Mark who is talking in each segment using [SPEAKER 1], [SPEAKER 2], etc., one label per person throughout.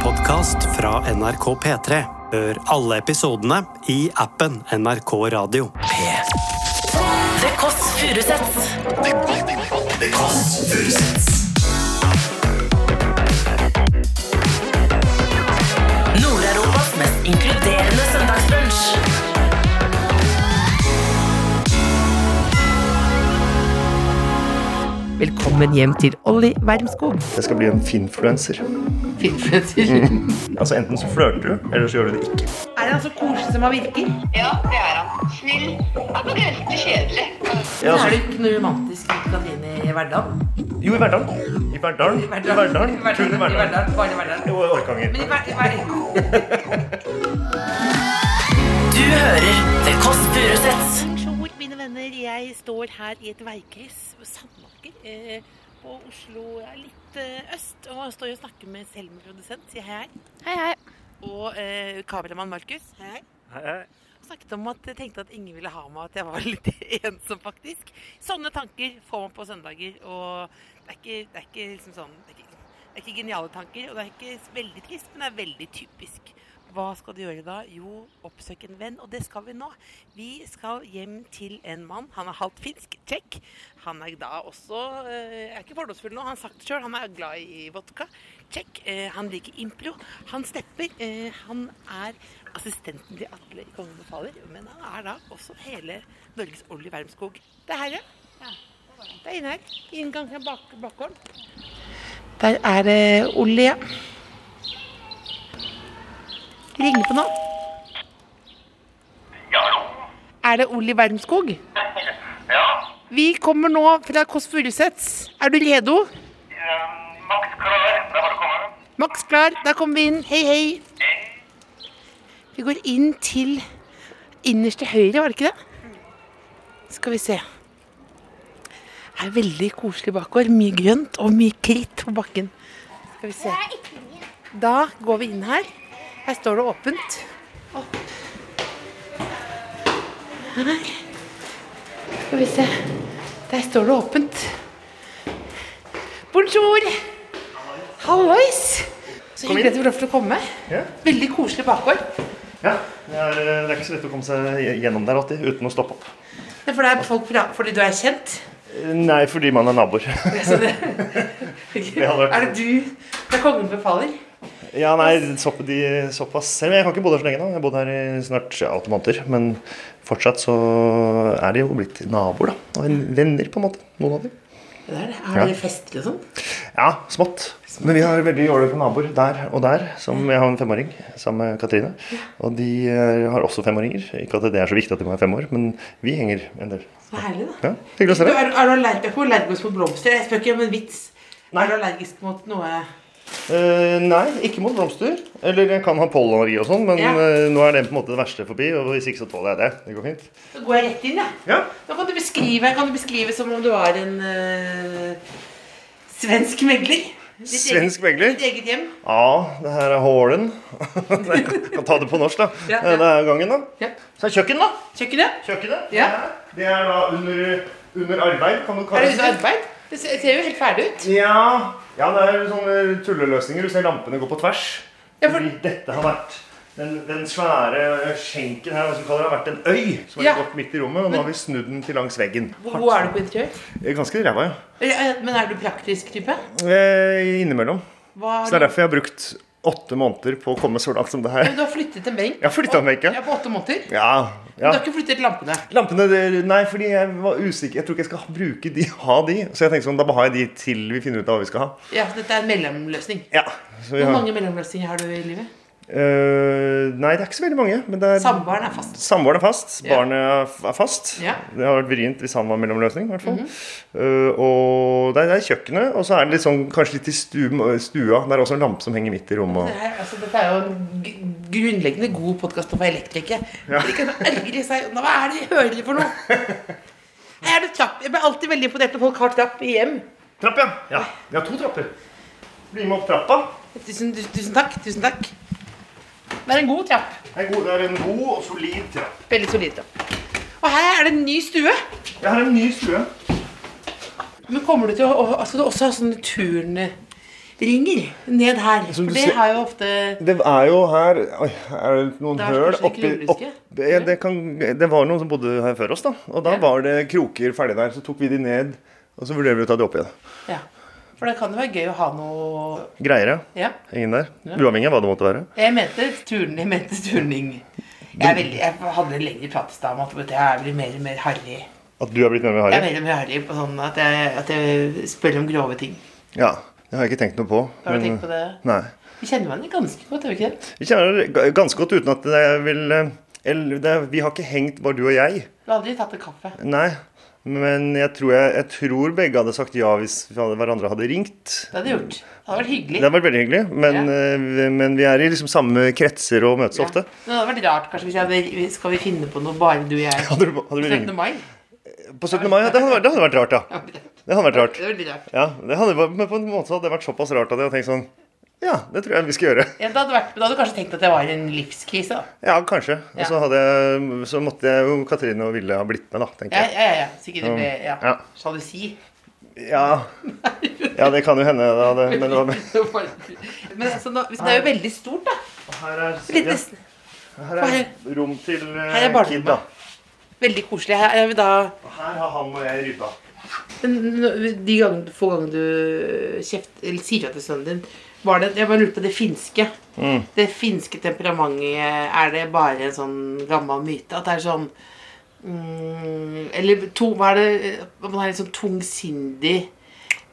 [SPEAKER 1] podkast fra NRK P3. Hør alle episodene i appen NRK Radio.
[SPEAKER 2] Det Kåss Furuseths. Nord-Europas mest inkluderende søndagsbrunsch.
[SPEAKER 3] Velkommen hjem til Olli Wermskog.
[SPEAKER 4] Jeg skal bli en finfluencer. Altså Enten så flørter du, eller så gjør du det ikke.
[SPEAKER 3] Er han så koselig som han virker?
[SPEAKER 5] Ja, det er han. Snill. Er på grensen til kjedelig.
[SPEAKER 3] Er du ikke noe romantisk i Katrine i hverdagen?
[SPEAKER 4] Jo, i Verdalen. I Verdalen. I Verdalen. Kun i Verdalen.
[SPEAKER 3] Bare i hverdagen.
[SPEAKER 4] Jo, i Orkanger.
[SPEAKER 3] Men i hver- i hverdagen.
[SPEAKER 2] Du hører The Kåss Furuseths.
[SPEAKER 6] Bonjour, mine venner. Jeg står her i et veikryss ved Sandmarker eh, på Oslo ja, litt eh, øst. Og står og snakker med Selma, produsent. Sier hei, hei.
[SPEAKER 7] Hei, hei.
[SPEAKER 6] Og eh, kameramann Markus. Hei, hei. Snakket om at jeg tenkte at ingen ville ha meg, at jeg var litt ensom, faktisk. Sånne tanker får man på søndager, og det er ikke, det er ikke liksom sånn det er ikke, det er ikke geniale tanker, og det er ikke veldig trist, men det er veldig typisk. Hva skal du gjøre da? Jo, oppsøke en venn, og det skal vi nå. Vi skal hjem til en mann. Han er halvt finsk, tjekk. Han er da også eh, er ikke fordomsfull nå, han har sagt det sjøl, han er glad i vodka. Tjekk. Eh, han liker impro. Han stepper. Eh, han er assistenten til Atle i Kongen befaler, men han er da også hele Norges Olli Wermskog. Det er her, ja. Det er inne her. Inngang fra bak bakgården. Der er det Olli, ja. Ringer på nå. Er det Olli Wermskog? Ja. Vi kommer nå fra Kåss Furuseths. Er du redo?
[SPEAKER 8] Max klar, der har du kommet.
[SPEAKER 6] Maks klar, da kommer vi inn. Hei, hei. Vi går inn til innerst til høyre, var det ikke det? Skal vi se. Det er veldig koselig bakover. Mye grønt og mye kritt på bakken. Skal vi se. Da går vi inn her. Her står det åpent. Opp. Her. Skal vi se. Der står det åpent. Bonjour! Hallois! Så
[SPEAKER 4] Kom inn.
[SPEAKER 6] hyggelig at du fikk lov til å komme.
[SPEAKER 4] Ja.
[SPEAKER 6] Veldig koselig bakgård.
[SPEAKER 4] Ja, det er, eh, det er ikke så lett å komme seg gjennom der alltid uten å stoppe opp. Eh,
[SPEAKER 6] Det er fordi, folk fra, fordi du er kjent.
[SPEAKER 4] Nei, fordi man er naboer.
[SPEAKER 6] Så det,
[SPEAKER 4] hadde vært-
[SPEAKER 6] er det du Det er kongen befaler.
[SPEAKER 4] Ja, nei, så, de, såpass. Selv om jeg har ikke bodd her så lenge nå. Jeg har bodd her i snart ja, åtte måneder. Men fortsatt så er de jo blitt naboer, da. Og venner, på en måte. Noen av dem.
[SPEAKER 6] Det er det.
[SPEAKER 4] Ja.
[SPEAKER 6] Er det fester og sånn?
[SPEAKER 4] Ja, smått. Men vi har veldig ålreite naboer der og der. Som jeg har en femåring sammen med Katrine. Og de eh, har også femåringer. Ikke at det er så viktig at de må være fem år, men vi henger en del.
[SPEAKER 6] Så herlig, da.
[SPEAKER 4] Ja, hyggelig å
[SPEAKER 6] Du,
[SPEAKER 4] se deg.
[SPEAKER 6] er, er du allergisk, allergisk mot blomster? Jeg spør ikke om en vits.
[SPEAKER 4] Nei.
[SPEAKER 6] Er du allergisk mot noe
[SPEAKER 4] Eh, nei, ikke mot blomster. Eller jeg kan ha pollenallergi og sånn, men
[SPEAKER 6] Ja.
[SPEAKER 4] eh, nå er det på en måte det verste forbi. Og hvis ikke så tåler jeg det. Det går fint.
[SPEAKER 6] Så går jeg rett inn, jeg.
[SPEAKER 4] Ja.
[SPEAKER 6] Nå kan du beskrive, kan du beskrive som om du var en eh, svensk megler. Ditt
[SPEAKER 4] Svensk
[SPEAKER 6] eget-
[SPEAKER 4] megler?
[SPEAKER 6] Ditt eget hjem.
[SPEAKER 4] Ja, det her er hålen. Nei, jeg kan ta det på norsk, da.
[SPEAKER 6] Ja,
[SPEAKER 4] Eh,
[SPEAKER 6] ja.
[SPEAKER 4] Det er gangen, da.
[SPEAKER 6] Ja.
[SPEAKER 4] Så er kjøkken, da.
[SPEAKER 6] Kjøkkenet.
[SPEAKER 4] Kjøkkenet.
[SPEAKER 6] Ja.
[SPEAKER 4] Det er da under, under arbeid, kan du
[SPEAKER 6] Er
[SPEAKER 4] kalle
[SPEAKER 6] det ute arbeid? Det ser ser jo helt ferdig ut.
[SPEAKER 4] Ja, ja, det er sånne tulleløsninger. Du ser lampene gå på tvers.
[SPEAKER 6] Ja, for-
[SPEAKER 4] Fordi dette har vært den, den svære skjenken her, hva skal vi kalle det, har vært en øy som har
[SPEAKER 6] Ja.
[SPEAKER 4] gått midt i rommet. Og nå har vi snudd den til langs veggen.
[SPEAKER 6] Hvor god er du på interiør?
[SPEAKER 4] Ganske ræva, ja.
[SPEAKER 6] Eh, Men er du praktisk type?
[SPEAKER 4] Eh, Innimellom.
[SPEAKER 6] Hva
[SPEAKER 4] Så det
[SPEAKER 6] har
[SPEAKER 4] er
[SPEAKER 6] du...
[SPEAKER 4] derfor jeg har brukt åtte måneder på å komme så langt som det her.
[SPEAKER 6] du har flyttet en benk?
[SPEAKER 4] Jeg har flyttet en benk, ja.
[SPEAKER 6] ja. På åtte måneder?
[SPEAKER 4] Ja,
[SPEAKER 6] Du
[SPEAKER 4] ja.
[SPEAKER 6] har ikke flyttet lampene?
[SPEAKER 4] Lampene det- Nei, fordi jeg var usikker. Jeg tror ikke jeg skal bruke de, ha de. Så jeg tenkte sånn, da bare har jeg de til vi finner ut av hva vi skal ha.
[SPEAKER 6] Ja, så dette er en mellomløsning.
[SPEAKER 4] Ja, så vi
[SPEAKER 6] Hvor
[SPEAKER 4] har,
[SPEAKER 6] mange mellomløsninger har du i livet?
[SPEAKER 4] Eh, nei, det er ikke så veldig mange. Men det er
[SPEAKER 6] Samboeren er fast.
[SPEAKER 4] Samboeren er fast,
[SPEAKER 6] Ja.
[SPEAKER 4] barnet er f- er fast.
[SPEAKER 6] Ja. Mhm.
[SPEAKER 4] Det hadde vært vrient hvis han var mellomløsning. i hvert fall. Eh, og det er, det er kjøkkenet, og så er det litt sånn, kanskje litt i stu- stua. Det er også en lampe som henger midt i rommet.
[SPEAKER 6] Det her, altså, dette er jo en g- grunnleggende god podkast for elektrikere. Ja. Ikke ergre seg. Nå, Hva er det de hører for noe? Her er det trapp. Jeg blir alltid veldig imponert når folk har trapp i hjem.
[SPEAKER 4] Trapp, ja. ja! Vi har to trapper. Bli med opp trappa.
[SPEAKER 6] Tusen, tu- tusen takk. Tusen takk. Det er en god trapp.
[SPEAKER 4] Det er, god, det er en god og solid trapp.
[SPEAKER 6] Veldig solid trapp. Og her er det en ny stue.
[SPEAKER 4] Jeg har en ny stue.
[SPEAKER 6] Men kommer du til å å- altså, du også ha sånne turn... ringer ned her.
[SPEAKER 4] Som du
[SPEAKER 6] For det
[SPEAKER 4] ser-
[SPEAKER 6] har jo ofte
[SPEAKER 4] Det er jo her Oi, er det noen
[SPEAKER 6] Det er
[SPEAKER 4] høl
[SPEAKER 6] kanskje
[SPEAKER 4] oppi
[SPEAKER 6] ikke
[SPEAKER 4] opp,
[SPEAKER 6] jordbruket?
[SPEAKER 4] ja, det, kan, det var noen som bodde her før oss, da. Og da
[SPEAKER 6] Ja.
[SPEAKER 4] var det kroker ferdig der. Så tok vi de ned, og så vurderer vi å ta de opp igjen.
[SPEAKER 6] Ja. For det kan jo være gøy å ha noe
[SPEAKER 4] Greier, ja.
[SPEAKER 6] Ja.
[SPEAKER 4] Ingen der.
[SPEAKER 6] Ja.
[SPEAKER 4] Uavhengig av hva det måtte være.
[SPEAKER 6] Jeg mente turning. Jeg mente turning. Jeg, er veldig, jeg hadde en lengre prat i stad om at vet du, jeg blir mer og mer harry.
[SPEAKER 4] At du har blitt med med
[SPEAKER 6] Jeg er
[SPEAKER 4] Harry?
[SPEAKER 6] mer og mer harry på sånn at jeg, at jeg spør om grove ting.
[SPEAKER 4] Ja. Det har jeg ikke tenkt noe på.
[SPEAKER 6] Har du
[SPEAKER 4] men-
[SPEAKER 6] tenkt på det?
[SPEAKER 4] Nei.
[SPEAKER 6] Vi kjenner hverandre ganske godt, gjør vi ikke det?
[SPEAKER 4] Vi kjenner det ga- ganske godt uten at jeg vil eh, eller, det, Vi har ikke hengt, bare du og jeg.
[SPEAKER 6] Du har aldri tatt en kaffe.
[SPEAKER 4] Nei. Men jeg tror, jeg, jeg tror begge hadde sagt ja hvis vi hadde- hverandre hadde ringt.
[SPEAKER 6] Det hadde jeg gjort. Det hadde vært hyggelig.
[SPEAKER 4] Det har vært veldig hyggelig, men, eh, vi- men vi er i liksom samme kretser og møtes
[SPEAKER 6] Ja.
[SPEAKER 4] ofte.
[SPEAKER 6] Men det hadde vært rart kanskje hvis jeg hadde Skal vi finne på noe, bare du og jeg?
[SPEAKER 4] Hadde du, hadde du
[SPEAKER 6] 17.
[SPEAKER 4] ringt
[SPEAKER 6] mai?
[SPEAKER 4] på 17. mai? Ja, det, hadde vært, det hadde vært rart, ja.
[SPEAKER 6] Det
[SPEAKER 4] Det hadde vært rart.
[SPEAKER 6] var veldig rart.
[SPEAKER 4] Ja, det hadde, vært- men på en måte så hadde det vært såpass rart at jeg hadde tenkt sånn Ja, det tror jeg vi skal gjøre.
[SPEAKER 6] Ja, det hadde vært, men da hadde du kanskje tenkt at jeg var i en livskrise, da.
[SPEAKER 4] Ja, kanskje.
[SPEAKER 6] Ja.
[SPEAKER 4] Og så, hadde jeg, så måtte jeg jo Katrine og Ville ha blitt med, da, tenker
[SPEAKER 6] Ja,
[SPEAKER 4] jeg.
[SPEAKER 6] ja, ja. ja. Så ikke det ble ja.
[SPEAKER 4] Ja.
[SPEAKER 6] sjalusi.
[SPEAKER 4] Ja, ja det kan jo hende. Da, det, men det var
[SPEAKER 6] Men altså, nå, hvis det er jo veldig stort, da.
[SPEAKER 4] Her er,
[SPEAKER 6] Litt
[SPEAKER 4] ja,
[SPEAKER 6] nesten.
[SPEAKER 4] her er rom til eh,
[SPEAKER 6] Her er barnerommet.
[SPEAKER 4] Kid, da.
[SPEAKER 6] Veldig koselig. Her er vi da
[SPEAKER 4] Og her har han og jeg rydda.
[SPEAKER 6] Men De gang, få ganger du kjeft, eller sier at det er sønnen din var det, Jeg bare lurer på det finske.
[SPEAKER 4] Mm.
[SPEAKER 6] Det finske temperamentet, er det bare en sånn gammel myte? At det er sånn mm, Eller to, hva er det At man er litt sånn tungsindig,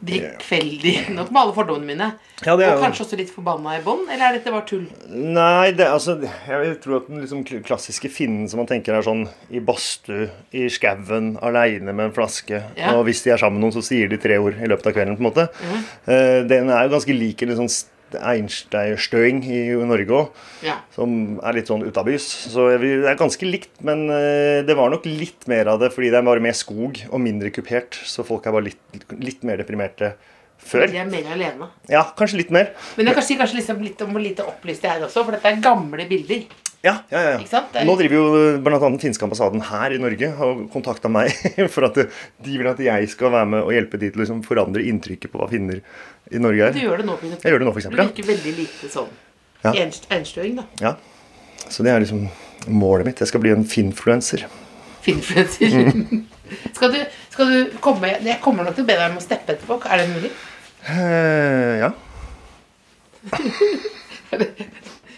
[SPEAKER 6] drikkfeldig Nå kommer alle fordommene mine.
[SPEAKER 4] Ja, det er
[SPEAKER 6] Og
[SPEAKER 4] jo-
[SPEAKER 6] kanskje også litt forbanna i bånn? Eller er dette bare tull?
[SPEAKER 4] Nei, det, altså, jeg tror at den liksom kl- klassiske finnen som man tenker er sånn i badstue, i skauen, aleine med en flaske.
[SPEAKER 6] Ja. Mhm.
[SPEAKER 4] Og hvis de er sammen med noen, så sier de tre ord i løpet av kvelden. på en måte. Eh, den er jo ganske lik en sånn st- Einstein-støing i Norge òg,
[SPEAKER 6] Ja.
[SPEAKER 4] som er litt sånn utabys. Så jeg vil- det er ganske likt, men eh, det var nok litt mer av det fordi det er bare mer skog og mindre kupert, så folk er bare litt, litt mer deprimerte
[SPEAKER 6] De
[SPEAKER 4] før.
[SPEAKER 6] er mer alene.
[SPEAKER 4] Ja, kanskje litt mer.
[SPEAKER 6] Men jeg kan si kanskje liksom litt om hvor lite opplyst jeg er også, for dette er gamle bilder.
[SPEAKER 4] Ja, ja, ja.
[SPEAKER 6] Ikke sant? Det er
[SPEAKER 4] Nå
[SPEAKER 6] litt-
[SPEAKER 4] driver jo bl.a. den finske ambassaden her i Norge har kontakta meg for at de vil at jeg skal være med og hjelpe de til å liksom forandre inntrykket på hva finner i Norge
[SPEAKER 6] Du
[SPEAKER 4] er.
[SPEAKER 6] gjør det nå, Pine.
[SPEAKER 4] Jeg gjør det nå, for eksempel,
[SPEAKER 6] Du
[SPEAKER 4] ja.
[SPEAKER 6] virker veldig lite sånn
[SPEAKER 4] Ja.
[SPEAKER 6] ja. einstøing, da.
[SPEAKER 4] Ja. Så det er liksom målet mitt. Jeg skal bli en finfluenser.
[SPEAKER 6] Filmfluencer. skal, du, skal du komme Jeg kommer nok til å be deg om å steppe etterpå. Er det mulig?
[SPEAKER 4] Eh, ja.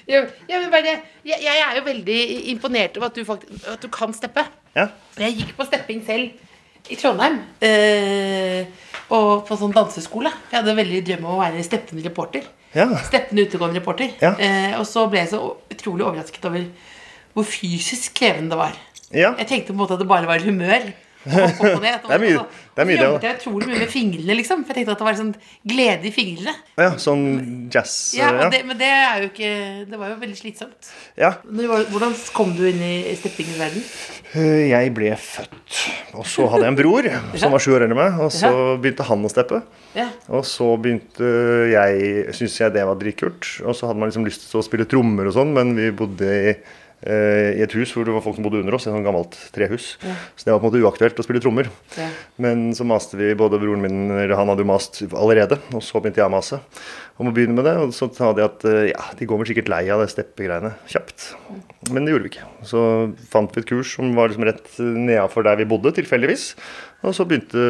[SPEAKER 6] Jeg, jeg, vil bare, jeg, jeg er jo veldig imponert over at du, faktisk, at du kan steppe.
[SPEAKER 4] ja.
[SPEAKER 6] Jeg gikk på stepping selv i Trondheim. Eh, og på sånn danseskole. Jeg hadde veldig drøm om å være steppende reporter.
[SPEAKER 4] Ja.
[SPEAKER 6] Steppende utegående reporter.
[SPEAKER 4] Ja.
[SPEAKER 6] Eh, og så ble jeg så utrolig overrasket over hvor fysisk krevende det var.
[SPEAKER 4] ja.
[SPEAKER 6] Jeg tenkte på en måte at det bare var humør. Opp og ned.
[SPEAKER 4] Det er mye- det er mye, det,
[SPEAKER 6] Så jobbet jeg utrolig mye med fingrene, liksom. For jeg tenkte at det var sånn glede i fingrene.
[SPEAKER 4] ja. Sånn jazz
[SPEAKER 6] Ja, og
[SPEAKER 4] ja.
[SPEAKER 6] det, men det er jo ikke Det var jo veldig slitsomt.
[SPEAKER 4] ja.
[SPEAKER 6] Men hva- Hvordan kom du inn i steppingens verden?
[SPEAKER 4] Eh, Jeg ble født, og så hadde jeg en bror som var sju år eldre enn meg, og så begynte han å steppe.
[SPEAKER 6] Ja.
[SPEAKER 4] Og så begynte jeg Syns jeg det var dritkult. Og så hadde man liksom lyst til å spille trommer og sånn, men vi bodde i, eh, i et hus hvor det var folk som bodde under oss. Et sånt gammelt trehus. Så det var på en måte uaktuelt å spille trommer.
[SPEAKER 6] Ja.
[SPEAKER 4] Men så maste vi, både broren min eller Han hadde jo mast allerede, og så begynte jeg å mase om å begynne med det. Og så sa de at eh, ja, de går vel sikkert lei av det steppegreiene kjapt. Men det gjorde vi ikke. Så fant vi et kurs som var liksom rett nedafor der vi bodde, tilfeldigvis. Og så begynte,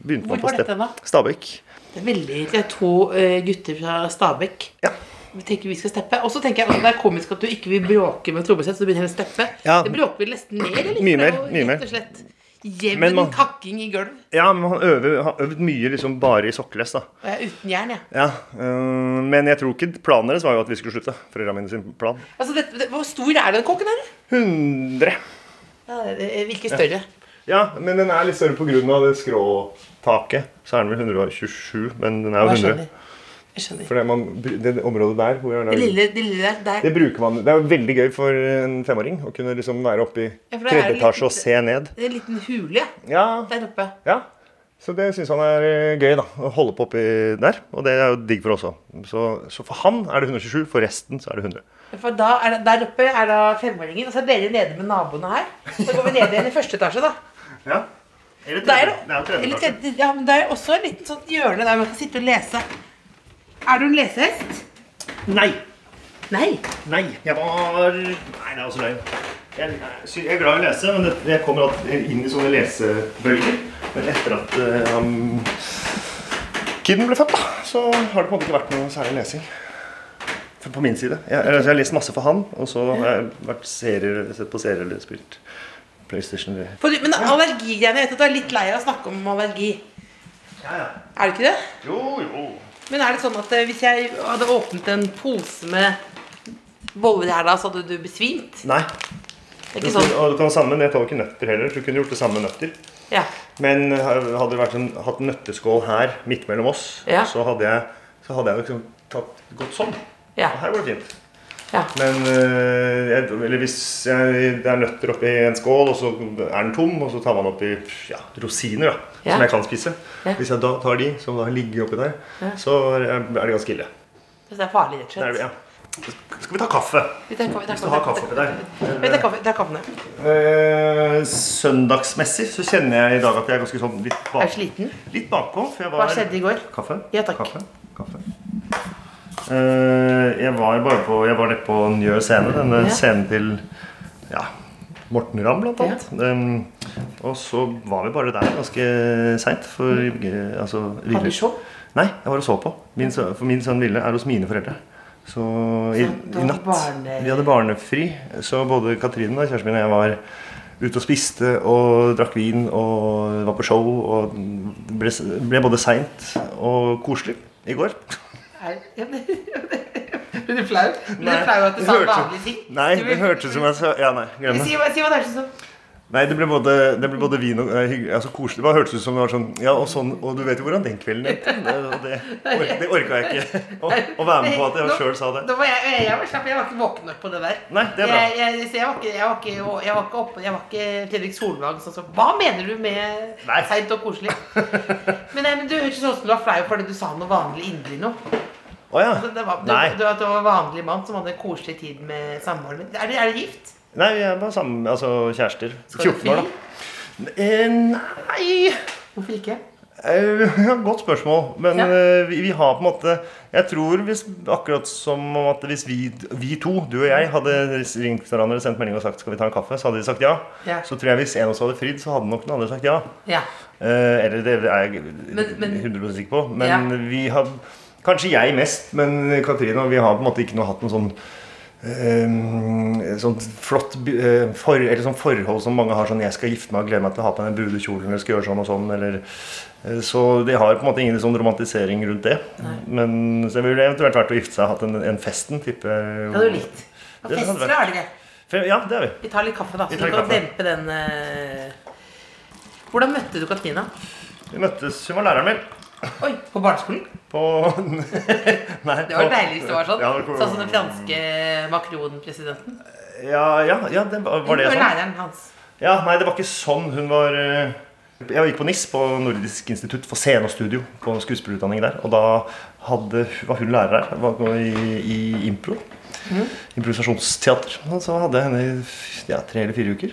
[SPEAKER 4] begynte
[SPEAKER 6] Hvor
[SPEAKER 4] man på
[SPEAKER 6] var dette
[SPEAKER 4] stepp.
[SPEAKER 6] da?
[SPEAKER 4] Stabekk.
[SPEAKER 6] Det er veldig Det er to eh, gutter fra Stabekk.
[SPEAKER 4] Ja.
[SPEAKER 6] Vi tenker vi skal steppe. Og så tenker jeg altså, det er komisk at du ikke vil bråke med trommesett, så du begynner å steppe.
[SPEAKER 4] Ja.
[SPEAKER 6] Det bråker vel nesten mer, eller?
[SPEAKER 4] Mye mer,
[SPEAKER 6] Det er jo
[SPEAKER 4] mye mer.
[SPEAKER 6] Rett og slett
[SPEAKER 4] Men
[SPEAKER 6] jevn
[SPEAKER 4] man-
[SPEAKER 6] kakking i gulv.
[SPEAKER 4] Ja, men han øver, har øvd mye liksom bare i sokkeless, da.
[SPEAKER 6] Og jeg er uten jern, jeg.
[SPEAKER 4] Ja, øh, men jeg tror ikke planen deres var jo at vi skulle slutte. Foreldrene mine sin plan.
[SPEAKER 6] Altså, dette- det, hvor stor er den kokken her?
[SPEAKER 4] 100.
[SPEAKER 6] Ja, det virker større.
[SPEAKER 4] Ja, men den er litt større pga. det skråtaket. Så er den vel 127, men den er
[SPEAKER 6] Ja,
[SPEAKER 4] jo
[SPEAKER 6] jeg
[SPEAKER 4] 100.
[SPEAKER 6] skjønner. Jeg skjønner.
[SPEAKER 4] For det, man, br- det området der hvor jeg
[SPEAKER 6] Det
[SPEAKER 4] lager-
[SPEAKER 6] lille, det lille der, der.
[SPEAKER 4] det bruker man, det er jo veldig gøy for en femåring å kunne liksom være oppe i
[SPEAKER 6] Ja, for det er
[SPEAKER 4] tredje
[SPEAKER 6] litt-
[SPEAKER 4] etasje og se ned.
[SPEAKER 6] Det er en liten hule
[SPEAKER 4] Ja,
[SPEAKER 6] der oppe.
[SPEAKER 4] ja. Så det syns han er øh, gøy, da. Å holde på oppi der. Og det er jo digg for oss òg. Så, så for han er det 127, for resten så er det 100.
[SPEAKER 6] For da er det, der oppe er da femåringen, og så er dere nede med naboene her. Så går vi ned igjen i første etasje, da.
[SPEAKER 4] Ja. Eller
[SPEAKER 6] Der,
[SPEAKER 4] tredje. Det er jo tredje
[SPEAKER 6] eller
[SPEAKER 4] etasje.
[SPEAKER 6] tredje- ja, men det er også en liten sånn hjørne der man kan sitte og lese. Er du en lesehest?
[SPEAKER 4] Nei!
[SPEAKER 6] Nei.
[SPEAKER 4] Nei, jeg var Nei, det er også løgn. Jeg, jeg sy- jeg er glad i å lese, men det, jeg kommer at- inn i sånne lesebølger. Men etter at eh, um, kiden ble født, da, så har det på en måte ikke vært noe særlig lesing. For- På min side. Jeg, altså, jeg har lest masse for han, og så har jeg vært serier, sett på serier eller spilt PlayStation. eller-
[SPEAKER 6] For, men allergigreiene Jeg vet at du er litt lei av å snakke om allergi. Er du ikke det?
[SPEAKER 4] Jo, jo.
[SPEAKER 6] Men er det sånn at eh, hvis jeg hadde åpnet en pose med boller her da, så hadde du besvimt?
[SPEAKER 4] Nei.
[SPEAKER 6] Det er
[SPEAKER 4] Du,
[SPEAKER 6] ikke sånn?
[SPEAKER 4] og du kan ha samme, jeg tar jo ikke nøtter heller. så Du kunne gjort det samme med nøtter.
[SPEAKER 6] Ja.
[SPEAKER 4] Men eh, hadde det vært en, hatt en nøtteskål her midt mellom oss,
[SPEAKER 6] Ja.
[SPEAKER 4] så, hadde jeg, så hadde jeg liksom tatt gått sånn.
[SPEAKER 6] Ja.
[SPEAKER 4] Her går det fint.
[SPEAKER 6] Ja.
[SPEAKER 4] Men øh, jeg, eller hvis jeg, det er nøtter oppi en skål, og så er den tom, og så tar man oppi ja, rosiner, da,
[SPEAKER 6] Ja.
[SPEAKER 4] som jeg kan spise
[SPEAKER 6] Ja.
[SPEAKER 4] Hvis jeg da tar de, som da ligger oppi der, så er er det ganske ille.
[SPEAKER 6] Så det er farlig, rett og
[SPEAKER 4] Det er
[SPEAKER 6] slett.
[SPEAKER 4] det, ja. Skal vi ta kaffe?
[SPEAKER 6] Vi tar kaffe.
[SPEAKER 4] Hvis du har kaffe Ah. oppi der.
[SPEAKER 6] Vi tar kaffe, tar kaffe ned.
[SPEAKER 4] Eh, søndagsmessig så kjenner jeg i dag at jeg er ganske sånn litt bak-
[SPEAKER 6] Er du sliten?
[SPEAKER 4] Litt bakpå, for jeg var
[SPEAKER 6] Hva skjedde i går?
[SPEAKER 4] Kaffe?
[SPEAKER 6] Ja, takk.
[SPEAKER 4] Kaffe? Kaffe. Eh, jeg var bare på Jeg var nede på Njø scene. Denne
[SPEAKER 6] Ja.
[SPEAKER 4] scenen til ja, Morten Ramm, blant annet. Em, og så var vi bare der ganske seint. For eh, altså
[SPEAKER 6] Har
[SPEAKER 4] Ville-
[SPEAKER 6] Mm. du show?
[SPEAKER 4] Nei, jeg var og så på. Min, sø- for min sønn Ville er hos mine foreldre. Så i,
[SPEAKER 6] du
[SPEAKER 4] i
[SPEAKER 6] hadde
[SPEAKER 4] natt
[SPEAKER 6] barne-
[SPEAKER 4] Vi hadde barnefri, så både Katrine, da, kjæresten min, og jeg var ute og spiste og drakk vin og var på show. Og ble, ble både seint og koselig i går.
[SPEAKER 6] Er, ja, men- Blir du flau? Blir
[SPEAKER 4] Nei,
[SPEAKER 6] du flau at du
[SPEAKER 4] det
[SPEAKER 6] sa
[SPEAKER 4] hørte-
[SPEAKER 6] vanlige ting?
[SPEAKER 4] Nei,
[SPEAKER 6] Du
[SPEAKER 4] det
[SPEAKER 6] blir-
[SPEAKER 4] hørtes ut som jeg sa Ja, nei, glem det.
[SPEAKER 6] Si hva, si hva det hørtes ut som.
[SPEAKER 4] Nei, det ble både, det ble både vin og eh, hygg- altså, koselig. Det bare hørtes ut som det var sånn Ja, og sånn Og du vet jo hvordan den kvelden endte. Det, og det, or- det orka jeg ikke å, å være med på at jeg
[SPEAKER 6] Nå-
[SPEAKER 4] sjøl sa det.
[SPEAKER 6] nå var jeg, jeg, var slapp, jeg var ikke våken nok på det der.
[SPEAKER 4] Nei, det er bra.
[SPEAKER 6] Jeg, jeg, så jeg, var ikke, jeg, var ikke, jeg var ikke oppe Jeg var ikke Fredrik Solvang sånn som sa Hva mener du med
[SPEAKER 4] Nei.
[SPEAKER 6] seint og koselig? men, nei, men du hørtes sånn ut som du var flau fordi du sa noe vanlig inderlig nå.
[SPEAKER 4] Å ja.
[SPEAKER 6] Altså, det var, du,
[SPEAKER 4] Nei.
[SPEAKER 6] du, at du var en vanlig mann som hadde en koselig tid med samboeren din. Er, du- er du gift?
[SPEAKER 4] Nei, vi er bare sammen, altså kjærester.
[SPEAKER 6] Skal du
[SPEAKER 4] 14 år,
[SPEAKER 6] fri?
[SPEAKER 4] da. Eh, nei
[SPEAKER 6] Hvorfor ikke?
[SPEAKER 4] Eh, Godt spørsmål. Men
[SPEAKER 6] Ja.
[SPEAKER 4] eh, vi, vi har på en måte Jeg tror hvis, akkurat som om at hvis vi, vi to, du og jeg, hadde ringt hverandre sendt melding og sagt skal vi ta en kaffe, så hadde de sagt ja.
[SPEAKER 6] Ja.
[SPEAKER 4] Så tror jeg hvis en av oss hadde fridd, så hadde nok den andre sagt ja.
[SPEAKER 6] Ja.
[SPEAKER 4] Eh, eller det er jeg
[SPEAKER 6] Men- men-
[SPEAKER 4] 100 sikker på. Men
[SPEAKER 6] Ja.
[SPEAKER 4] vi har Kanskje jeg mest, men Katrine og vi har på en måte ikke noe hatt noe sånn eh, sånn flott by- eh, for, eller sånn forhold som mange har sånn 'Jeg skal gifte meg og gleder meg til å ha på meg den brudekjolen' eller skal gjøre sånn og sånn. Eller, eh, så de har på en måte ingen sånn romantisering rundt det. Men så jeg ville eventuelt vært å gifte seg og hatt en, en festen type
[SPEAKER 6] Det hadde du likt. Og
[SPEAKER 4] Det hadde
[SPEAKER 6] Fester,
[SPEAKER 4] vært-
[SPEAKER 6] er det greit?
[SPEAKER 4] Fe- Ja, det er vi.
[SPEAKER 6] Vi tar litt kaffe, da.
[SPEAKER 4] Vi
[SPEAKER 6] Så
[SPEAKER 4] tar
[SPEAKER 6] vi
[SPEAKER 4] litt
[SPEAKER 6] kan dempe den eh. Hvordan møtte du Katrina?
[SPEAKER 4] Vi møttes Hun var læreren min.
[SPEAKER 6] Oi, på barneskolen?
[SPEAKER 4] På Nei,
[SPEAKER 6] Det var
[SPEAKER 4] på-
[SPEAKER 6] deilig hvis det var sånn.
[SPEAKER 4] Ja, det var-
[SPEAKER 6] Sånn som den franske Macron-presidenten.
[SPEAKER 4] Ja, ja, ja det var, var det
[SPEAKER 6] Og
[SPEAKER 4] sånn.
[SPEAKER 6] læreren hans.
[SPEAKER 4] Ja, nei, det var ikke sånn. Hun var eh, Jeg gikk på NIS, på Nordisk institutt for scene og studio, på skuespillerutdanning der. Og da hadde, var hun lærer her, var i, i impro.
[SPEAKER 6] Mm.
[SPEAKER 4] Improvisasjonsteater. Og så hadde jeg henne i ja, tre eller fire uker.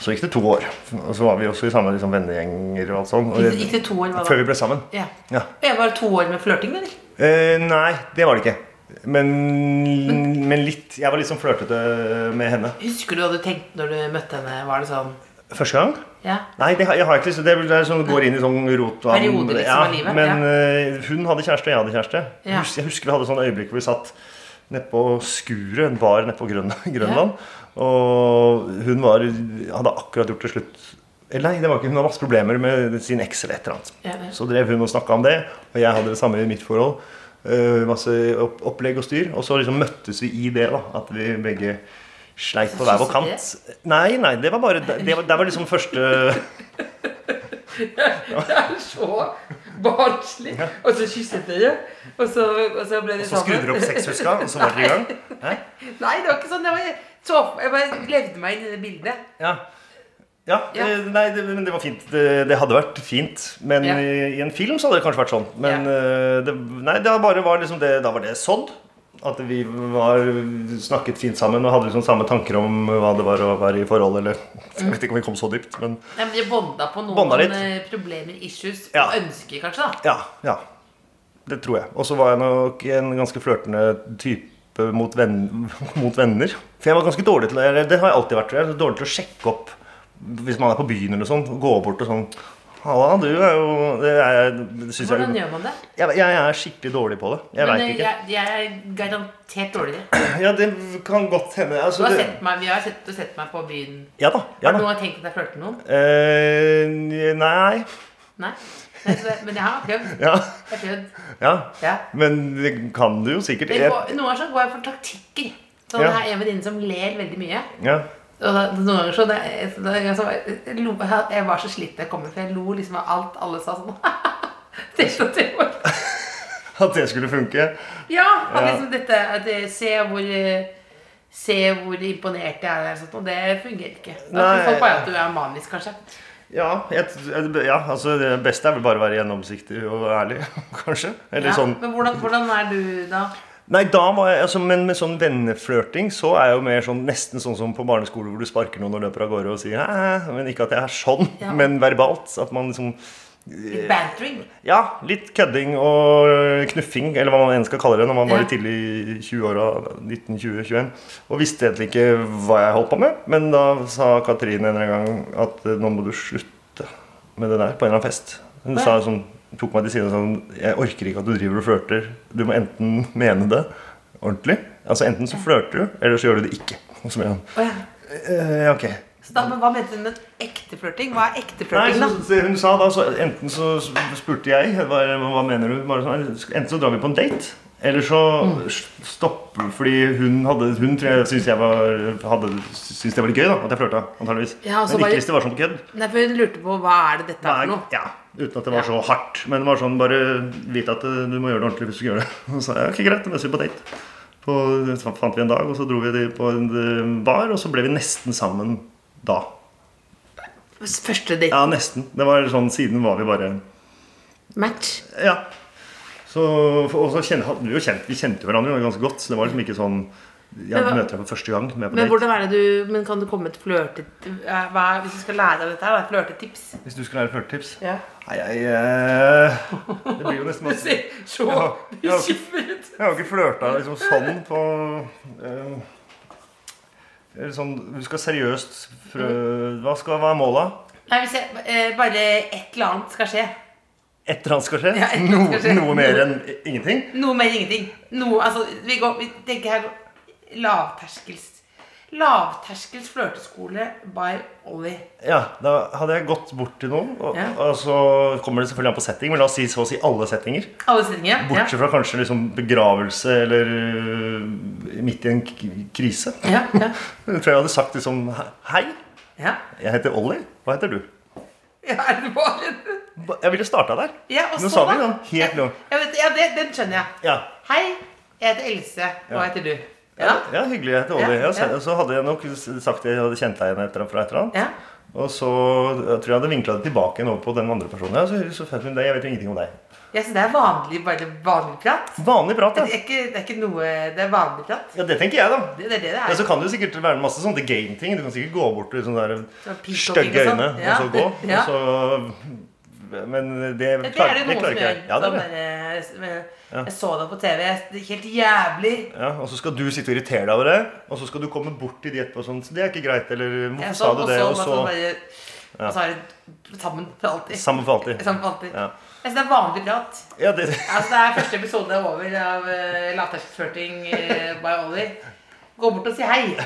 [SPEAKER 4] Så gikk det to år. Og så var vi også i samme liksom, vennegjenger og alt sånt. Og
[SPEAKER 6] Gikk det- gikk det to år, hva da?
[SPEAKER 4] Før vi ble sammen.
[SPEAKER 6] Ja.
[SPEAKER 4] Ja.
[SPEAKER 6] Jeg var to år med flørting, eller?
[SPEAKER 4] Eh, nei, det var det ikke. Men, men litt Jeg var litt sånn flørtete med henne.
[SPEAKER 6] Husker du hva du tenkte når du møtte henne? Var det sånn
[SPEAKER 4] Første gang?
[SPEAKER 6] Ja.
[SPEAKER 4] Nei, det har, jeg har ikke lyst til det. er- Det er sånn, går inn i sånn rot av
[SPEAKER 6] Perioder, liksom, av livet,
[SPEAKER 4] Men
[SPEAKER 6] ja.
[SPEAKER 4] eh, hun hadde kjæreste, og jeg hadde kjæreste.
[SPEAKER 6] Ja.
[SPEAKER 4] Hus- Jeg husker vi hadde sånne øyeblikk hvor vi satt nedpå skuret, en bar nedpå Grøn, Grønland. Og hun var, hadde akkurat gjort det slutt Eller nei, det var ikke, hun hadde masse problemer med sin eks eller et eller annet.
[SPEAKER 6] Ja, ja.
[SPEAKER 4] Så drev hun og snakka om det, og jeg hadde det samme i mitt forhold. Eh, masse opp, opplegg og styr. Og så liksom møttes vi i det, da. At vi begge sleit på hver vår kant. Nei, nei, det var bare Det var, det var liksom første
[SPEAKER 6] Det er så barnslig! Og så kysset dere, og så, og så ble de
[SPEAKER 4] Så skrudde dere opp sekshuska, og så var dere i gang? Hæ?
[SPEAKER 6] Nei, det var ikke sånn. Jeg, var, så, jeg bare levde meg inn i det bildet.
[SPEAKER 4] Ja. Ja,
[SPEAKER 6] Ja.
[SPEAKER 4] eh, Nei, det, men det var fint. Det, det hadde vært fint. Men
[SPEAKER 6] Ja.
[SPEAKER 4] i i en film så hadde det kanskje vært sånn. Men
[SPEAKER 6] Ja.
[SPEAKER 4] eh, det, nei, det bare var liksom det, da var det sådd. At vi var, snakket fint sammen og hadde liksom samme tanker om hva det var å være i forhold. Eller, jeg vet ikke om vi kom så dypt, men
[SPEAKER 6] Nei, men Jeg bonda på noen
[SPEAKER 4] Bonda litt.
[SPEAKER 6] eh, problemer, issues,
[SPEAKER 4] Ja.
[SPEAKER 6] og ønsker, kanskje. da
[SPEAKER 4] ja. ja. Det tror jeg. Og så var jeg nok en ganske flørtende type mot, venn, mot venner. For jeg var ganske dårlig til eller Det har jeg alltid vært. tror Jeg Så dårlig til å sjekke opp hvis man er på byen eller sånn. og Gå bort og sånn Halla, du er jo Det, er, det synes
[SPEAKER 6] Hvordan
[SPEAKER 4] jeg,
[SPEAKER 6] gjør man det?
[SPEAKER 4] jeg Jeg er skikkelig dårlig på det. Jeg
[SPEAKER 6] Men
[SPEAKER 4] veit
[SPEAKER 6] eh,
[SPEAKER 4] ikke.
[SPEAKER 6] jeg, jeg er garantert dårligere.
[SPEAKER 4] Ja, det kan godt hende.
[SPEAKER 6] Du
[SPEAKER 4] Altså,
[SPEAKER 6] har
[SPEAKER 4] det,
[SPEAKER 6] sett meg, vi har sett, du har sett meg på byen.
[SPEAKER 4] ja da. Ja
[SPEAKER 6] Har
[SPEAKER 4] da.
[SPEAKER 6] du noen gang tenkt at jeg flørter med noen?
[SPEAKER 4] Eh, nei.
[SPEAKER 6] Nei. Nei så det, men jeg har prøvd.
[SPEAKER 4] Ja.
[SPEAKER 6] Jeg har prøvd.
[SPEAKER 4] ja.
[SPEAKER 6] Ja.
[SPEAKER 4] Men det kan du jo sikkert.
[SPEAKER 6] Jeg
[SPEAKER 4] Jeg,
[SPEAKER 6] går, noen ganger så går jeg for taktikker. Sånn,
[SPEAKER 4] Ja.
[SPEAKER 6] Jeg har en venninne som ler veldig mye.
[SPEAKER 4] ja.
[SPEAKER 6] Og da, noen ganger så, da, så da, jeg, så jeg, lo, jeg var så slitt da jeg kom hjem, for jeg lo liksom av alt alle sa sånn. det er så trevlig.
[SPEAKER 4] At det skulle funke.
[SPEAKER 6] Ja, at
[SPEAKER 4] Ja.
[SPEAKER 6] liksom dette at det, se, hvor, eh, se hvor imponert jeg er. eller Sånt, og det fungerer ikke. Da
[SPEAKER 4] Nei.
[SPEAKER 6] tror folk bare at du er manisk, kanskje.
[SPEAKER 4] Ja, jeg, ja, altså det beste er vel bare å være gjennomsiktig og ærlig, kanskje. Eller
[SPEAKER 6] Ja,
[SPEAKER 4] sånn.
[SPEAKER 6] Men hvordan, hvordan er du da?
[SPEAKER 4] Nei, da var jeg, altså, Men med sånn venneflørting så er jeg jo mer sånn, nesten sånn som på barneskole hvor du sparker noen og løper av gårde og sier hæ, men ikke at jeg er sånn,
[SPEAKER 6] Ja.
[SPEAKER 4] men verbalt. At man liksom
[SPEAKER 6] Litt bantering?
[SPEAKER 4] Ja, litt kødding og knuffing, eller hva man enn skal kalle det, når man var
[SPEAKER 6] Ja.
[SPEAKER 4] litt tidlig i 20-åra. 1920-21. Og visste egentlig ikke hva jeg holdt på med. Men da sa Katrin en eller annen gang at eh, nå må du slutte med det der på en eller annen fest. Hun sa sånn, tok meg til side og sa sånn, jeg orker ikke at du driver og flørter. Du må enten mene det ordentlig. Altså enten så flørter du, eller så gjør du det ikke. Og så ble han
[SPEAKER 6] Å ja.
[SPEAKER 4] eh, ok.
[SPEAKER 6] Så da, men hva mente du med ekte flørting? Hva er ekte
[SPEAKER 4] Nei,
[SPEAKER 6] flørting,
[SPEAKER 4] så, så
[SPEAKER 6] da?
[SPEAKER 4] hun sa da, så enten så spurte jeg hva, hva mener du? Bare sånn, enten så drar vi på en date, eller så s- stopper Fordi hun, hadde, hun tror jeg syntes jeg var, hadde, syntes det var litt gøy da, at jeg flørta, antageligvis.
[SPEAKER 6] Ja, og så
[SPEAKER 4] men
[SPEAKER 6] bare-
[SPEAKER 4] ikke hvis det var sånn på kødd.
[SPEAKER 6] Nei, for Hun lurte på hva er det dette er
[SPEAKER 4] Nei,
[SPEAKER 6] for noe.
[SPEAKER 4] ja, uten at det var så hardt. Men det var sånn, bare vite at eh, du må gjøre det ordentlig hvis du skal gjøre det. Og så sa jeg ok, greit, da møtes vi på date. På, så fant vi en dag, og så dro vi på en eh, bar, og så ble vi nesten sammen da.
[SPEAKER 6] Første date
[SPEAKER 4] Ja, nesten. Det var sånn, Siden var vi bare
[SPEAKER 6] match.
[SPEAKER 4] Ja. Så, og så kjen- hadde vi, jo kjent, vi kjente hverandre jo ganske godt, så det var liksom ikke sånn Jeg
[SPEAKER 6] Men hva-
[SPEAKER 4] møter deg for første gang. Med på
[SPEAKER 6] Men
[SPEAKER 4] date.
[SPEAKER 6] hvordan er det du Men kan du komme med et flørte... eh, Hva er, hvis du skal lære deg dette her, hva er et flørtetips?
[SPEAKER 4] Hvis du skulle lære flørtetips
[SPEAKER 6] Ja.
[SPEAKER 4] Nei, jeg eh, Det blir jo nesten masse Jeg
[SPEAKER 6] Så
[SPEAKER 4] Ja, ja, ok.
[SPEAKER 6] bekymret ut.
[SPEAKER 4] har jo ikke flørta liksom sånn på eh, eller sånn, Du skal seriøst frø...
[SPEAKER 6] Mm.
[SPEAKER 4] Hva, skal, hva er måla?
[SPEAKER 6] Nei, hvis jeg eh, Bare et eller annet skal skje.
[SPEAKER 4] Et eller annet skal skje?
[SPEAKER 6] Ja, et eller annet skal skje.
[SPEAKER 4] Noe, noe mer enn ingenting?
[SPEAKER 6] Noe mer ingenting. Noe Altså, vi går Vi tenker her lavterskels Lavterskels flørteskole by Ollie.
[SPEAKER 4] Ja, da hadde jeg gått bort til noen, og,
[SPEAKER 6] Ja.
[SPEAKER 4] og så kommer det selvfølgelig an på setting, men la oss si så å si alle settinger.
[SPEAKER 6] Alle stillinger. Ja.
[SPEAKER 4] Bortsett fra kanskje liksom begravelse eller øh, midt i en k- krise.
[SPEAKER 6] Ja, ja,
[SPEAKER 4] Jeg tror jeg hadde sagt liksom Hei,
[SPEAKER 6] ja.
[SPEAKER 4] jeg heter Olli. Hva heter du?
[SPEAKER 6] ja. Er det bare
[SPEAKER 4] Ba- Jeg ville starta der.
[SPEAKER 6] Ja, og
[SPEAKER 4] Nå
[SPEAKER 6] så
[SPEAKER 4] sa vi
[SPEAKER 6] da?
[SPEAKER 4] noe helt nå.
[SPEAKER 6] Ja, vet, du, ja det, den skjønner jeg.
[SPEAKER 4] Ja.
[SPEAKER 6] Hei, jeg heter Else. Hva
[SPEAKER 4] Ja.
[SPEAKER 6] heter du?
[SPEAKER 4] Ja. ja, hyggelig. Jeg heter Olli.
[SPEAKER 6] Ja,
[SPEAKER 4] Ja, så-
[SPEAKER 6] ja.
[SPEAKER 4] Så hadde jeg nok sagt at jeg hadde kjent deg igjen etter, fra et eller annet.
[SPEAKER 6] Ja.
[SPEAKER 4] Og så jeg tror jeg hadde vinkla det tilbake igjen over på den andre personen. Ja, så, så fett med deg. Jeg vet jo ingenting om deg.
[SPEAKER 6] Jeg synes det er vanlig, bare vanlig prat.
[SPEAKER 4] Vanlig prat,
[SPEAKER 6] Det
[SPEAKER 4] ja.
[SPEAKER 6] er ikke, det er ikke noe Det er vanlig prat.
[SPEAKER 4] ja. Det tenker jeg, da.
[SPEAKER 6] Det, det er det det
[SPEAKER 4] Ja,
[SPEAKER 6] er.
[SPEAKER 4] så kan det jo sikkert være masse sånne game-ting. Du kan sikkert gå bort til sånne
[SPEAKER 6] Sånn
[SPEAKER 4] der
[SPEAKER 6] peacock,
[SPEAKER 4] stygge
[SPEAKER 6] ikke sant?
[SPEAKER 4] øyne
[SPEAKER 6] Ja.
[SPEAKER 4] og så gå.
[SPEAKER 6] Ja.
[SPEAKER 4] Og så, men det,
[SPEAKER 6] det, det
[SPEAKER 4] klarer-
[SPEAKER 6] er det noen som
[SPEAKER 4] klarer ikke
[SPEAKER 6] gjør.
[SPEAKER 4] jeg. Ja, det
[SPEAKER 6] Sånn
[SPEAKER 4] er det.
[SPEAKER 6] der, eh, Jeg så deg på TV. Det er helt jævlig.
[SPEAKER 4] Ja, og så skal du sitte og irritere deg over det, og så skal du komme bort til de etterpå og sånn så 'Det er ikke greit', eller 'Hvorfor
[SPEAKER 6] Jeg
[SPEAKER 4] sa du det?' Og
[SPEAKER 6] bare
[SPEAKER 4] så
[SPEAKER 6] sånn bare- og så er det sammen for alltid.
[SPEAKER 4] Sammen for alltid.
[SPEAKER 6] Sammen for alltid.
[SPEAKER 4] Ja.
[SPEAKER 6] Jeg synes det er vanlig prat.
[SPEAKER 4] Ja, det,
[SPEAKER 6] Altså, det er første episode over av uh, lavterskelflørting eh, by Ollie. Gå bort og si hei.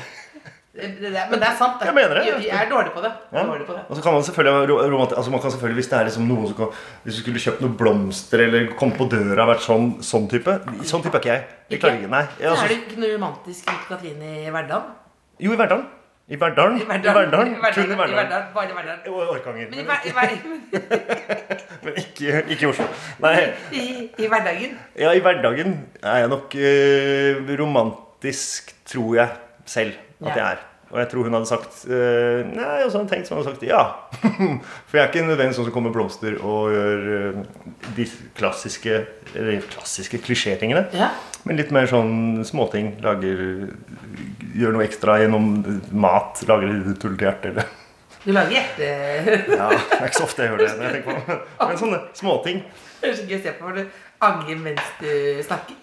[SPEAKER 6] Det, det, det, men det er sant.
[SPEAKER 4] Jeg mener det.
[SPEAKER 6] Jeg, jeg er dårlig på det. Jeg
[SPEAKER 4] ja.
[SPEAKER 6] er dårlig på det.
[SPEAKER 4] Og så kan man selvfølgelig ro- romanti- altså man kan selvfølgelig, Hvis det er liksom noen som kan, Hvis du skulle kjøpt noen blomster eller kommet på døra og vært sånn, sånn type Sånn type er ikke jeg. Jeg klarer ikke, nei. Jeg,
[SPEAKER 6] er
[SPEAKER 4] altså,
[SPEAKER 6] det ikke noe romantisk rundt Katrine i hverdagen?
[SPEAKER 4] jo, i Verdalen. I Verdalen.
[SPEAKER 6] I
[SPEAKER 4] I Verdalen.
[SPEAKER 6] I
[SPEAKER 4] Kun i
[SPEAKER 6] hverdagen. I
[SPEAKER 4] Verdalen.
[SPEAKER 6] hverdagen. Bare i hverdagen.
[SPEAKER 4] Og Orkanger.
[SPEAKER 6] Men i,
[SPEAKER 4] men
[SPEAKER 6] hver, i, hver,
[SPEAKER 4] Men ikke, ikke i Oslo. Nei,
[SPEAKER 6] i, i hverdagen
[SPEAKER 4] ja, I hverdagen er jeg nok eh, romantisk, tror jeg selv at
[SPEAKER 6] Ja.
[SPEAKER 4] jeg er. Og jeg tror hun hadde sagt eh, Nei, og så hadde hun tenkt som hun hadde sagt ja. For jeg er ikke nødvendigvis sånn som kommer med blomster og gjør eh, de klassiske, eller klassiske klisjétingene.
[SPEAKER 6] Ja.
[SPEAKER 4] Men litt mer sånn småting. Lager Gjør noe ekstra gjennom mat. Lager tullete hjerte eller
[SPEAKER 6] Du lager hjerte...
[SPEAKER 4] Ja, det er ikke så ofte jeg gjør det. når jeg tenker på det. Men sånne småting.
[SPEAKER 6] Det er så gøy å se på. for du- Ange mens du snakker?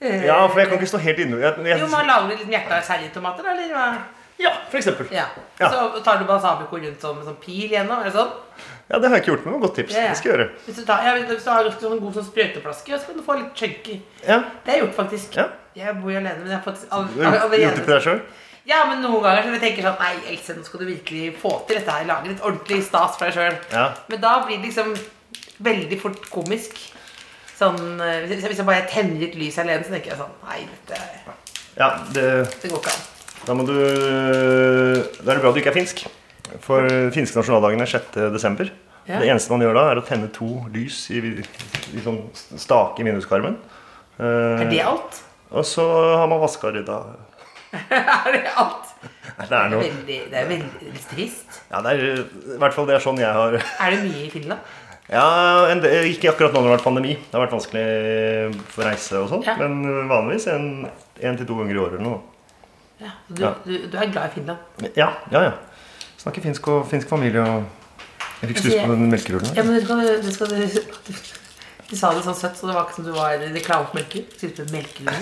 [SPEAKER 6] Eh,
[SPEAKER 4] Ja, for jeg kan ikke stå helt inne. Jeg,
[SPEAKER 6] Jo,
[SPEAKER 4] jeg,
[SPEAKER 6] man lager litt hjerta seljeritomater, eller hva?
[SPEAKER 4] ja, for eksempel.
[SPEAKER 6] Ja.
[SPEAKER 4] Ja.
[SPEAKER 6] Så tar du balsamico rundt som en sånn pil gjennom, eller sånn.
[SPEAKER 4] Ja, det har jeg ikke gjort, men det var et godt tips.
[SPEAKER 6] Ja, ja.
[SPEAKER 4] Det skal jeg gjøre.
[SPEAKER 6] Hvis du, tar, ja, hvis du har en sånn god sånn sprøyteflaske, så kan du få litt chunky.
[SPEAKER 4] Ja,
[SPEAKER 6] Det har jeg gjort, faktisk.
[SPEAKER 4] Ja.
[SPEAKER 6] Jeg bor jo alene, men jeg har faktisk all,
[SPEAKER 4] du har
[SPEAKER 6] all,
[SPEAKER 4] Gjort det til
[SPEAKER 6] allerede
[SPEAKER 4] deg sjøl?
[SPEAKER 6] Ja, men noen ganger så tenker jeg sånn Nei, Else, nå skal du virkelig få til dette her. Lage litt ordentlig stas for deg sjøl.
[SPEAKER 4] Ja.
[SPEAKER 6] Men da blir det liksom veldig fort komisk. Sånn, eh, hvis, jeg, hvis jeg bare tenner et lys alene, så tenker jeg sånn Nei, dette,
[SPEAKER 4] Ja, det,
[SPEAKER 6] det går ikke an.
[SPEAKER 4] da må du Da er det bra du ikke er finsk. For finske nasjonaldagen er 6.12.
[SPEAKER 6] Ja.
[SPEAKER 4] Det eneste man gjør da, er å tenne to lys i, i sånn stake i vinduskarmen. Eh,
[SPEAKER 6] Er det alt?
[SPEAKER 4] og så har man vaska og rydda.
[SPEAKER 6] er det alt?
[SPEAKER 4] Nei, Det er noe
[SPEAKER 6] Veldig, det er veldig litt trist.
[SPEAKER 4] Ja, det er i hvert fall det er sånn jeg har
[SPEAKER 6] Er det mye i Finland?
[SPEAKER 4] Ja, en del, Ikke akkurat nå når det har vært pandemi. Det har vært vanskelig for reise og sånn.
[SPEAKER 6] Ja.
[SPEAKER 4] Men vanligvis en, en til to ganger i året eller noe.
[SPEAKER 6] Ja, du,
[SPEAKER 4] Ja.
[SPEAKER 6] du, du er glad i Finland.
[SPEAKER 4] Ja, ja, ja. Snakker finsk og finsk familie og Jeg fikk stuss på den melkerullen.
[SPEAKER 6] Ja,
[SPEAKER 4] her.
[SPEAKER 6] men du, skal, du, skal, du, du sa det sånn søtt, så det var ikke som du var reklamemelker. Sitter med melkelue.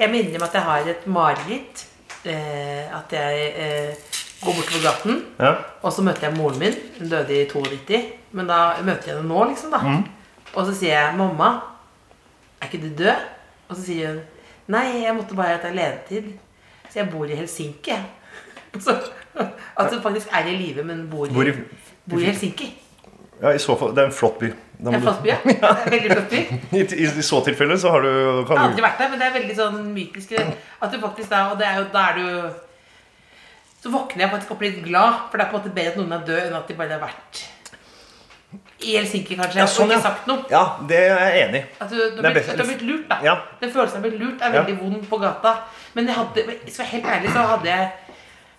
[SPEAKER 6] Jeg må innrømme at jeg har et mareritt. Eh, at jeg eh, går bortover gaten,
[SPEAKER 4] Ja.
[SPEAKER 6] og så møter jeg moren min. Hun døde i 92. Men da møter jeg henne nå, liksom. da Og så sier jeg 'mamma, er ikke du død?' Og så sier hun 'nei, jeg måtte bare ta lenetid'. Så jeg bor i Helsinki. jeg». Så, at hun faktisk er i live, men bor i,
[SPEAKER 4] Bor i,
[SPEAKER 6] bor i Helsinki.
[SPEAKER 4] ja, i så fall, det er en flott by. Da må
[SPEAKER 6] Det er en flott by, ja. Det er en Veldig flott by. Jeg
[SPEAKER 4] du, i, I i så tilfelle så har du kan
[SPEAKER 6] har
[SPEAKER 4] du-
[SPEAKER 6] aldri vært der, men det er veldig sånn mytisk at du faktisk da, Og det er jo, da er du Så våkner jeg faktisk opp litt glad, for det er på en måte bedre at noen er død, enn at de bare har vært i Helsinki, kanskje,
[SPEAKER 4] Ja, sånn,
[SPEAKER 6] og
[SPEAKER 4] ja.
[SPEAKER 6] ikke sagt noe.
[SPEAKER 4] Ja, det er jeg enig i.
[SPEAKER 6] At du,
[SPEAKER 4] Det
[SPEAKER 6] du, har
[SPEAKER 4] er
[SPEAKER 6] blitt,
[SPEAKER 4] best-
[SPEAKER 6] at du har blitt lurt, da.
[SPEAKER 4] Ja.
[SPEAKER 6] Den følelsen av å bli lurt er
[SPEAKER 4] Ja.
[SPEAKER 6] veldig vond på gata. Men jeg hadde, men skal jeg være helt ærlig så hadde jeg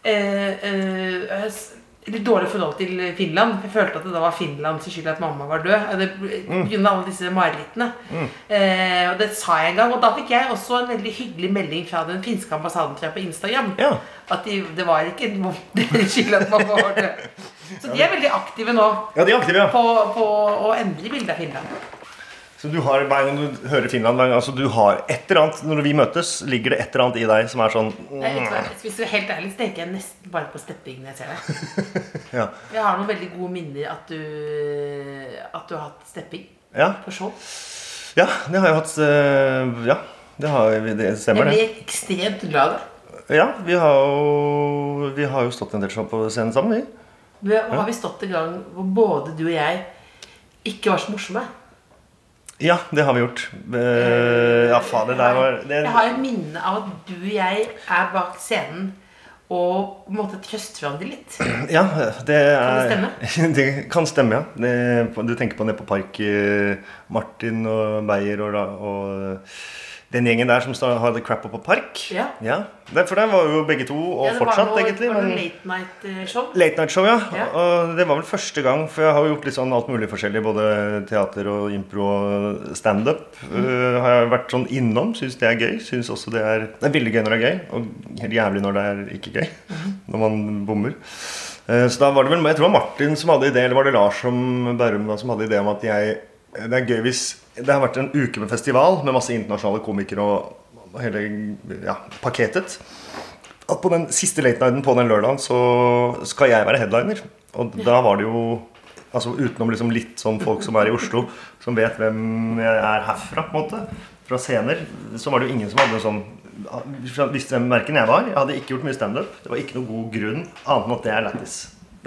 [SPEAKER 6] eh, eh, s- litt dårlig forhold til Finland. Jeg følte at det da var Finlands skyld at mamma var død. Og Det
[SPEAKER 4] Mm.
[SPEAKER 6] Pga. alle disse marerittene. Eh, og det sa jeg en gang. Og da fikk jeg også en veldig hyggelig melding fra den finske ambassaden tror jeg, på Instagram.
[SPEAKER 4] Ja.
[SPEAKER 6] At de, det var ikke deres skyld at mamma var død. Så de er veldig aktive nå
[SPEAKER 4] Ja, de er aktive, ja.
[SPEAKER 6] på, på å endre bildet av Finland.
[SPEAKER 4] Så du har, hver gang du hører Finland, hver gang, altså du har et eller annet Når vi møtes, ligger det et eller annet i deg som er sånn
[SPEAKER 6] Nei, Eh, vet du hva, Hvis du er helt ærlig, så tenker jeg nesten bare på stepping når jeg ser deg.
[SPEAKER 4] Ja.
[SPEAKER 6] Jeg har noen veldig gode minner at du, at du har hatt stepping
[SPEAKER 4] Ja,
[SPEAKER 6] på show.
[SPEAKER 4] ja det har jeg hatt eh, Ja, det, har, jeg- det
[SPEAKER 6] Jeg
[SPEAKER 4] stemmer, det.
[SPEAKER 6] blir ekstremt glad av det.
[SPEAKER 4] Ja, vi har jo, vi har jo stått en del sånn på scenen sammen, vi.
[SPEAKER 6] Vi- Har vi stått en gang hvor både du og jeg ikke var så morsomme?
[SPEAKER 4] Ja, det har vi gjort. Eh, ja, faen, det der var det,
[SPEAKER 6] Jeg har et minne av at du og jeg er bak scenen og på en måte trøster hverandre litt.
[SPEAKER 4] Ja, det er
[SPEAKER 6] Kan
[SPEAKER 4] det stemme? det kan stemme, ja. Det, du tenker på nede på Park eh, Martin og Beyer og, da- og eh, den gjengen der som sta- hadde crap på Park.
[SPEAKER 6] Ja.
[SPEAKER 4] Det, for der var jo begge to, og
[SPEAKER 6] Ja, det var
[SPEAKER 4] fortsatt,
[SPEAKER 6] noe-
[SPEAKER 4] egentlig.
[SPEAKER 6] var noe
[SPEAKER 4] Men
[SPEAKER 6] late eh, night-show.
[SPEAKER 4] Late Night Show, ja.
[SPEAKER 6] Ja.
[SPEAKER 4] Og det var vel første gang, for jeg har jo gjort litt sånn alt mulig forskjellig. Både teater og impro og standup. Uh, har jeg vært sånn innom. Syns det er gøy. Synes også det er Det er veldig gøy når det er gøy, og helt jævlig når det er ikke gøy. Når man bommer. Eh, så da var det vel Jeg tror det var Martin som hadde idé, eller var det Lars som Bærum da, som hadde idé om at jeg Det er gøy hvis Det har vært en uke med festival med masse internasjonale komikere og, og hele ja, pakketet at på den siste late nighten på den lørdagen så skal jeg være headliner. Og da var det jo Altså utenom liksom litt sånn folk som er i Oslo, som vet hvem jeg er herfra, på en måte, fra scener, så var det jo ingen som hadde sånn Visste hvem verken jeg var. Jeg hadde ikke gjort mye standup. Det var ikke noe god grunn annet enn at det er lættis.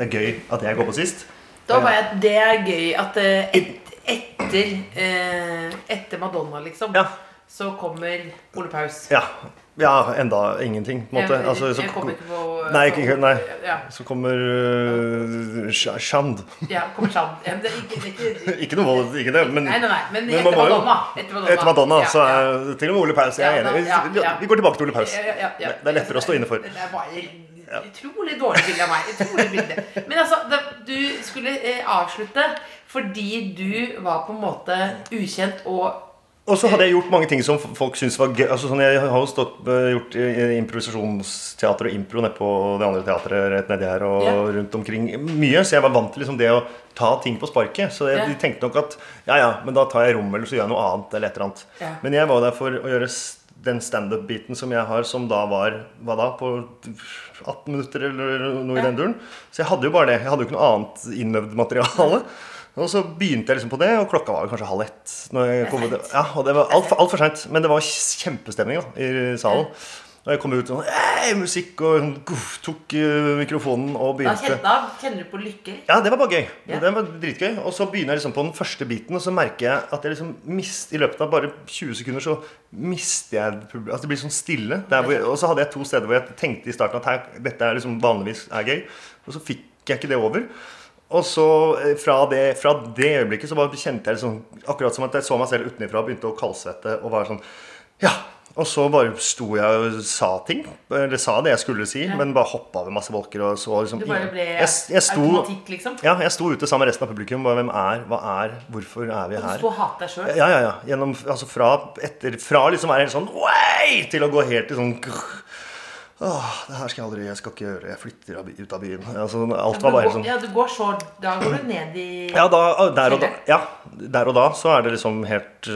[SPEAKER 4] Det er gøy at jeg går på sist.
[SPEAKER 6] Da var jeg at det er gøy at eh, et, etter, eh, etter Madonna, liksom,
[SPEAKER 4] Ja.
[SPEAKER 6] så kommer Ole Paus.
[SPEAKER 4] Ja. ja enda ingenting, på en måte.
[SPEAKER 6] Jeg-
[SPEAKER 4] Altså, så,
[SPEAKER 6] jeg kommer ikke på eh,
[SPEAKER 4] Nei, ikke- nei.
[SPEAKER 6] Ja,
[SPEAKER 4] så kommer øh, Sh- Shand.
[SPEAKER 6] ja kommer Shand. Ja, men det er ikke, det er ikke,
[SPEAKER 4] Ikke noe vold, ikke det, men
[SPEAKER 6] nei, nei, nei, men,
[SPEAKER 4] Men
[SPEAKER 6] etter,
[SPEAKER 4] man må jo-
[SPEAKER 6] Madonna, etter Madonna.
[SPEAKER 4] Etter Madonna,
[SPEAKER 6] Ja,
[SPEAKER 4] så
[SPEAKER 6] ja.
[SPEAKER 4] er til og med Ole Paus. Jeg
[SPEAKER 6] Ja,
[SPEAKER 4] er enig.
[SPEAKER 6] ja,
[SPEAKER 4] Vi,
[SPEAKER 6] ja. Eh,
[SPEAKER 4] vi går tilbake til Ole Paus.
[SPEAKER 6] Ja, ja, ja, ja.
[SPEAKER 4] Det er lettere å stå inne for.
[SPEAKER 6] Det er bare utrolig dårlig bilde av meg. Utrolig bilde. Men altså, da, du skulle eh, avslutte fordi du var på en måte ukjent og
[SPEAKER 4] Og så hadde jeg gjort mange ting som f- folk syntes var gøy. Altså, sånn, jeg har jo stått, eh, gjort eh, improvisasjonsteater og impro nede på det andre teatret rett nedi her og rundt omkring mye. Så jeg var vant til liksom, det å ta ting på sparket. Så jeg,
[SPEAKER 6] Ja.
[SPEAKER 4] de tenkte nok at ja, ja, men da tar jeg rom, eller så gjør jeg noe annet. eller et eller annet.
[SPEAKER 6] Ja.
[SPEAKER 4] Men jeg var der for å gjøre s- den standup-biten som jeg har, som da var hva da, på 18 minutter eller noe i den duren. Så jeg hadde jo bare det. Jeg hadde jo ikke noe annet innøvd materiale. Og så begynte jeg liksom på det, og klokka var kanskje halv ett. Når jeg kom ut. Ja, og det var altfor alt seint. Men det var kjempestemning da, i salen. Og jeg kom ut og sånn, «Ei, musikk og sånn, guff, tok eh, mikrofonen og
[SPEAKER 6] Da
[SPEAKER 4] begynte.
[SPEAKER 6] kjenner, da kjenner du på lykke. eller?
[SPEAKER 4] Ja, det var bare gøy.
[SPEAKER 6] Ja.
[SPEAKER 4] Det var dritgøy. Og så begynner jeg liksom på den første biten, og så merker jeg at jeg liksom mist, i løpet av bare 20 sekunder så mister jeg publikum. Altså, det blir sånn stille. Der hvor, og så hadde jeg to steder hvor jeg tenkte i starten at her, dette er liksom vanligvis er gøy. Og så fikk jeg ikke det over. Og så eh, fra det, fra det øyeblikket så bare kjente jeg liksom Akkurat som at jeg så meg selv utenfra og begynte å kaldsvette og var sånn Ja. Og så bare sto jeg og sa ting. Eller sa det jeg skulle si, men bare hoppa over masse bolker. Og så liksom
[SPEAKER 6] Du bare
[SPEAKER 4] jeg,
[SPEAKER 6] ble
[SPEAKER 4] jeg sto,
[SPEAKER 6] automatikk, liksom.
[SPEAKER 4] ja, jeg sto ute sammen med resten av publikum. Bare, hvem er, hva er, hvorfor er vi
[SPEAKER 6] Du
[SPEAKER 4] her?
[SPEAKER 6] sto og hatet deg sjøl.
[SPEAKER 4] Ja, ja, ja. Gjennom, altså fra, etter, fra liksom være helt sånn Way! Til å gå helt til sånn grr. Åh, det her skal jeg aldri Jeg skal ikke gjøre Jeg flytter av by- ut av byen. Altså, alt var bare sånn.
[SPEAKER 6] Ja, du går så Da går du ned i
[SPEAKER 4] Ja, da, der, og da, ja, der og da så er det liksom helt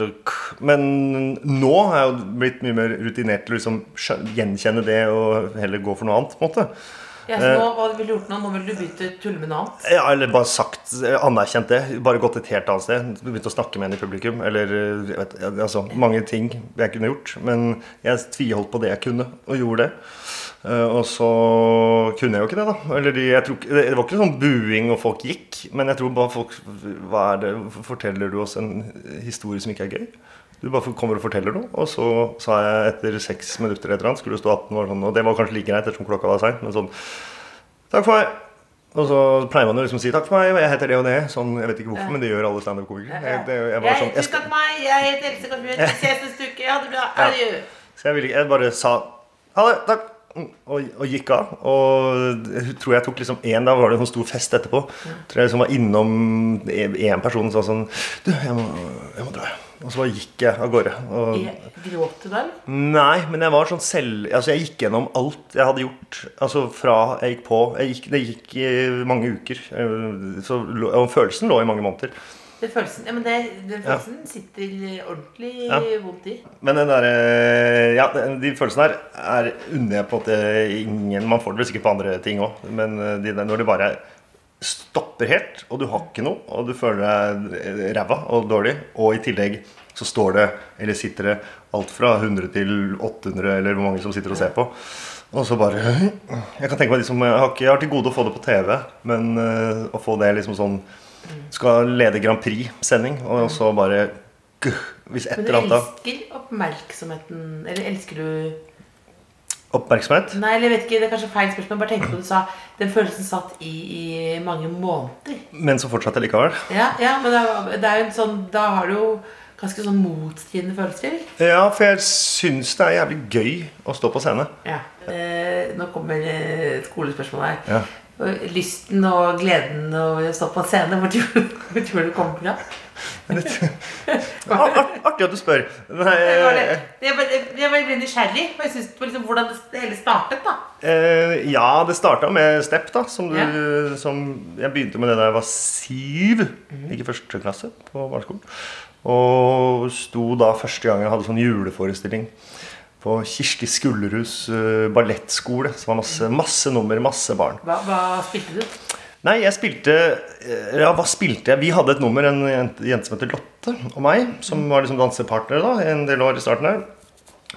[SPEAKER 4] Men nå har jeg jo blitt mye mer rutinert til å liksom skjø- gjenkjenne det og heller gå for noe annet. på en måte
[SPEAKER 6] Ja, så
[SPEAKER 4] eh,
[SPEAKER 6] nå, Hva ville du gjort nå? Nå ville du begynt å tulle med noe annet?
[SPEAKER 4] Ja, eller bare sagt, anerkjent det. Bare gått et helt annet sted. Begynt å snakke med henne i publikum. Eller eh, jeg vet, altså, mange ting jeg kunne gjort. Men jeg tviholdt på det jeg kunne, og gjorde det. Eh, Og så kunne jeg jo ikke det, da. Eller de, jeg tror, ikke- det det var ikke sånn buing og folk gikk. Men jeg tror bare folk hva er det, Forteller du oss en historie som ikke er gøy? Du bare kommer og forteller noe. Og så sa jeg etter seks minutter eller et eller annet, skulle det stå 18 år sånn, og det var kanskje like greit ettersom klokka var sein, men sånn Takk for meg. Og så pleier man jo liksom å si takk for meg, og jeg heter det og det. Sånn, jeg vet ikke hvorfor, men det gjør alle standup-komikere. Jeg, det- jeg, var sånn, jeg,
[SPEAKER 6] Tusen takk
[SPEAKER 4] skal-
[SPEAKER 6] meg, jeg heter Else Kåss Vi ses neste uke. Ha det bra. Adjø.
[SPEAKER 4] så jeg, ville, ikke- jeg bare sa ha det, takk, mm, og, og gikk av. Og jeg tror jeg tok liksom én, da var det en sånn stor fest etterpå. Tror jeg liksom var innom én person og sa sånn Du, jeg må, jeg må dra. Og så bare gikk jeg av gårde. Og,
[SPEAKER 6] Gråt du da, eller?
[SPEAKER 4] Nei, men jeg var sånn selv Altså jeg gikk gjennom alt jeg hadde gjort Altså fra jeg gikk på jeg gikk, Det gikk i mange uker eh, så, lå- Og følelsen lå i mange måneder
[SPEAKER 6] Den følelsen, ja, men det, den følelsen sitter ordentlig
[SPEAKER 4] Ja.
[SPEAKER 6] vondt i.
[SPEAKER 4] Men den der eh, Ja, den- de følelsene her Er unner jeg på en måte ingen Man får det vel sikkert på andre ting også Men eh, de, der- når det bare stopper helt Og du har ikke noe Og du føler deg ræva og dårlig Og i tillegg så står det Eller sitter det alt fra 100 til 800 Eller hvor mange som sitter og ser på Og så bare Jeg kan tenke meg de som Jeg har, ikke, jeg har til gode å få det på TV, men eh, å få det liksom sånn
[SPEAKER 6] Mm.
[SPEAKER 4] Skal lede Grand Prix-sending, og så bare guh, Hvis et
[SPEAKER 6] Men du
[SPEAKER 4] eller annet da
[SPEAKER 6] elsker oppmerksomheten Eller elsker du
[SPEAKER 4] Oppmerksomhet?
[SPEAKER 6] Nei, eller jeg vet ikke, det er kanskje feil spørsmål. Bare tenkte på det du sa. Den følelsen satt i i mange måneder.
[SPEAKER 4] Men så fortsatte jeg likevel.
[SPEAKER 6] Ja, ja men det er, det er jo en sånn Da har du jo ganske sånn motstridende følelser.
[SPEAKER 4] Ja, for jeg syns det er jævlig gøy å stå på scene.
[SPEAKER 6] Ja. Eh, nå kommer eh, et skolespørsmål her.
[SPEAKER 4] Ja.
[SPEAKER 6] Og Lysten og gleden over å stå på en scene, hvor tror, hvor tror du det kommer fra?
[SPEAKER 4] Ah, art, artig at du spør. Nei,
[SPEAKER 6] Det var det.
[SPEAKER 4] Eh.
[SPEAKER 6] Jeg bare- jeg bare ble nysgjerrig på jeg synes, på liksom, hvordan det hele startet. da
[SPEAKER 4] Eh, ja, det starta med step, da. Som du,
[SPEAKER 6] Ja. Mhm.
[SPEAKER 4] som jeg begynte med det da jeg var syv. Ikke første klasse på barneskolen. Og sto da første gang jeg hadde sånn juleforestilling på Kirsti Skullerhus eh, ballettskole. Som var masse, masse nummer, masse barn.
[SPEAKER 6] Hva, hva spilte du?
[SPEAKER 4] Nei, jeg spilte eh, Ja, hva spilte jeg? Vi hadde et nummer, en jente, jente som heter Lotte og meg,
[SPEAKER 6] Mm.
[SPEAKER 4] som var liksom dansepartnere da, en del år i starten her.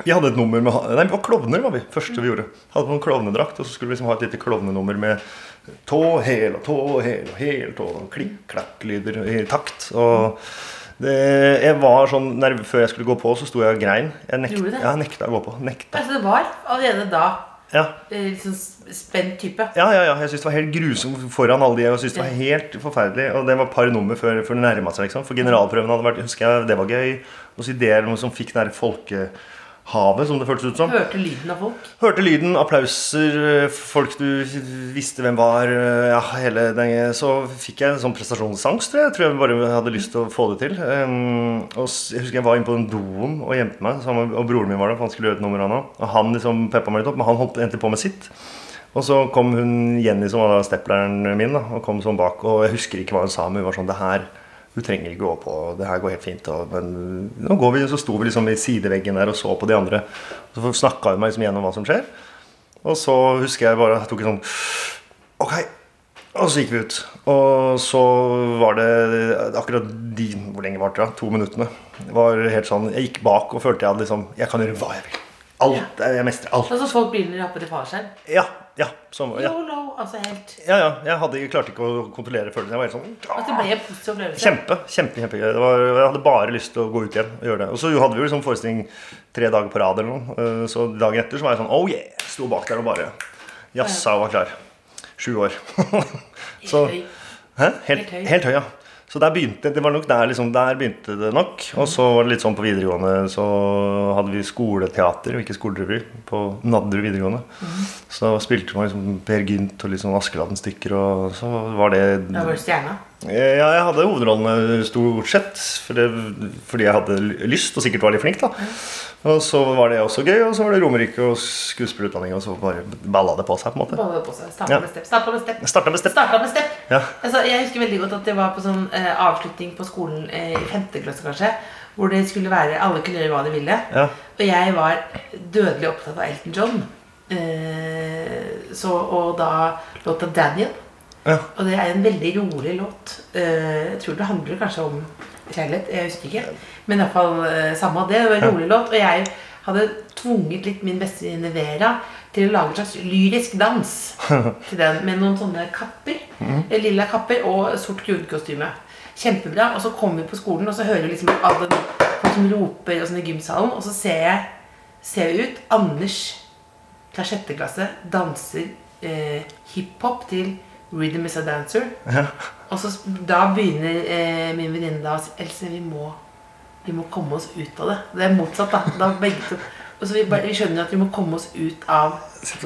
[SPEAKER 4] Vi hadde et nummer med ha- Nei, vi var klovner, var vi. Første
[SPEAKER 6] Mm.
[SPEAKER 4] vi gjorde. Hadde på en klovnedrakt, og så skulle vi liksom ha et lite klovnenummer med tå, hæl og tå, hæl og hæl, tå, og klikk-klakk-lyder i eh, takt. Og det, jeg var sånn nerv, Før jeg skulle gå på, så sto jeg og grein. Jeg nekta,
[SPEAKER 6] Gjorde du det?
[SPEAKER 4] ja, jeg nekta å gå på. Nekta.
[SPEAKER 6] Altså, det var allerede da
[SPEAKER 4] Ja,
[SPEAKER 6] eh, liksom spent type.
[SPEAKER 4] Ja, ja, ja. Jeg syntes det var helt grusomt foran alle de. Jeg syntes det var helt forferdelig. Og det var et par nummer før, før det nærma seg, liksom. For generalprøven hadde vært, husker jeg, det var gøy. Og så ideer noe som fikk den der folke... havet, som det føltes ut som.
[SPEAKER 6] Hørte lyden av folk.
[SPEAKER 4] Hørte lyden, applauser, folk du visste hvem var ja, hele den, Så fikk jeg en sånn prestasjonsangst, tror jeg. Jeg tror jeg bare hadde lyst til å få det til. Um, og s- Jeg husker jeg var inne på den doen og gjemte meg, sammen, og broren min var der, for han skulle gjøre et nummer, han også. Og han liksom peppa meg litt opp, men han holdt endte på med sitt. Og så kom hun Jenny, som var da stepleren min, da, og kom sånn bak. Og jeg husker ikke hva hun sa, men hun var sånn Det her du trenger ikke gå på, det her går helt fint. Og, men nå går vi, så sto vi liksom i sideveggen der og så på de andre. Så snakka hun meg liksom gjennom hva som skjer. Og så husker jeg bare jeg tok en sånn Ok. Og så gikk vi ut. Og så var det akkurat de Hvor lenge varte det? da? To minuttene. Det var helt sånn, Jeg gikk bak og følte jeg hadde liksom Jeg kan gjøre hva jeg vil. Alt, Jeg mestrer alt.
[SPEAKER 6] Altså Folk begynner å rappe til far seg.
[SPEAKER 4] Ja. ja, sånn, ja.
[SPEAKER 6] Yolo, altså helt
[SPEAKER 4] Ja, ja. Jeg hadde, jeg klarte ikke å kontrollere følelsen. Jeg var helt sånn
[SPEAKER 6] At det ble en positiv opplevelse.
[SPEAKER 4] Kjempe, kjempe, kjempegøy. Det var, jeg hadde bare lyst til å gå ut igjen og gjøre det. Og så hadde vi jo liksom forestilling tre dager på rad eller noe. Eh, Så dagen etter så var jeg sånn oh yeah! Sto bak der og bare jazza og var klar. Sju år. så,
[SPEAKER 6] Høy.
[SPEAKER 4] Hæ? Helt,
[SPEAKER 6] Helt høy.
[SPEAKER 4] helt høy, ja. Så der begynte det var nok der, liksom, der begynte det nok.
[SPEAKER 6] Mm.
[SPEAKER 4] Og så var det litt sånn på videregående så hadde vi skoleteater og ikke skolerevy på Nadderud videregående.
[SPEAKER 6] Mm.
[SPEAKER 4] Så spilte man liksom Per Gynt og litt sånn Askeladden-stykker, og så var det
[SPEAKER 6] Da var det stjerna.
[SPEAKER 4] Eh, Ja, jeg hadde hovedrollene stort sett for det, fordi jeg hadde l- lyst og sikkert var litt flink. da Og så var det også gøy, og så var det Romerike og skuespillerutdanning, og så bare balla det på seg. på en måte
[SPEAKER 6] Balla det på seg.
[SPEAKER 4] Ja.
[SPEAKER 6] Starta med step. Starta med step.
[SPEAKER 4] Jeg starta med step.
[SPEAKER 6] Starta med step.
[SPEAKER 4] Ja.
[SPEAKER 6] Altså, jeg husker veldig godt at det var på sånn eh, avslutning på skolen eh, i femte klasse, kanskje. Hvor det skulle være Alle kunne gjøre hva de ville.
[SPEAKER 4] Ja.
[SPEAKER 6] Og jeg var dødelig opptatt av Elton John. Eh, så, og da låta 'Daniel'.
[SPEAKER 4] Ja.
[SPEAKER 6] Og det er en veldig rolig låt. Eh, jeg tror det handler kanskje om kjærlighet. Jeg husker ikke. Men iallfall eh, samme av det. Det var en rolig låt. Og jeg hadde tvunget litt min bestevenninne Vera til å lage en slags lyrisk dans til den. Med noen sånne kapper. eh, Lilla kapper og sort grunnkostyme. Kjempebra. Og så kommer vi på skolen, og så hører vi liksom alle de folk som roper og sånn i gymsalen. Og så ser jeg, ser jeg ut Anders fra sjette klasse danser eh, hiphop til Rhythm is a Dancer. Og så sp- da begynner eh, min venninne da å si Else, vi må, vi må komme oss ut av det. Det er motsatt, da. da begge to. Og så vi, bare, vi skjønner jo at vi må komme oss ut av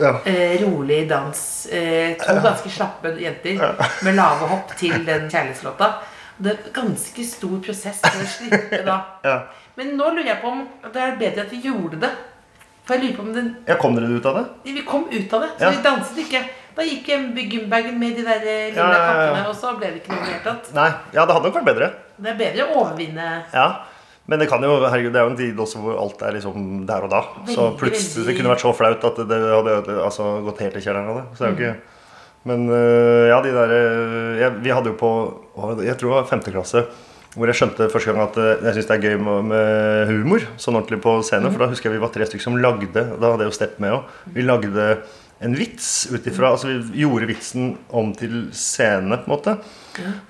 [SPEAKER 4] Ja.
[SPEAKER 6] eh, rolig dans. Eh, to ganske slappe jenter med lave hopp til den kjærlighetslåta. Det er en ganske stor prosess for å slippe da.
[SPEAKER 4] Ja.
[SPEAKER 6] Men nå lurer jeg på om det er bedre at vi gjorde det. For jeg lurer på om den
[SPEAKER 4] Ja, Kom dere ut av det?
[SPEAKER 6] vi kom ut av det, så
[SPEAKER 4] Ja.
[SPEAKER 6] vi danset ikke. Da gikk jeg med gymbagen med de der eh, lilla
[SPEAKER 4] Ja, ja, ja.
[SPEAKER 6] kappene, og så ble det ikke noe i det hele tatt.
[SPEAKER 4] Nei. Ja, det hadde nok vært bedre.
[SPEAKER 6] Det er bedre å overvinne
[SPEAKER 4] Ja, men det kan jo, herregud, det er jo en tid også hvor alt er liksom der og da. Så
[SPEAKER 6] Veldig,
[SPEAKER 4] plutselig det
[SPEAKER 6] veldig.
[SPEAKER 4] kunne vært så flaut at det hadde øde- altså, gått helt i kjelleren av det. Så det er jo ikke... Men øh, ja, de der øh, jeg, Vi hadde jo på hva- Jeg tror det var femte klasse. Hvor jeg skjønte første gang at øh, jeg syns det er gøy med, med humor. Sånn ordentlig på scenen. For da husker jeg vi var tre stykker som lagde Da hadde jeg jo Stepp med òg. Vi lagde en vits ut ifra Altså vi gjorde vitsen om til scene, på en måte.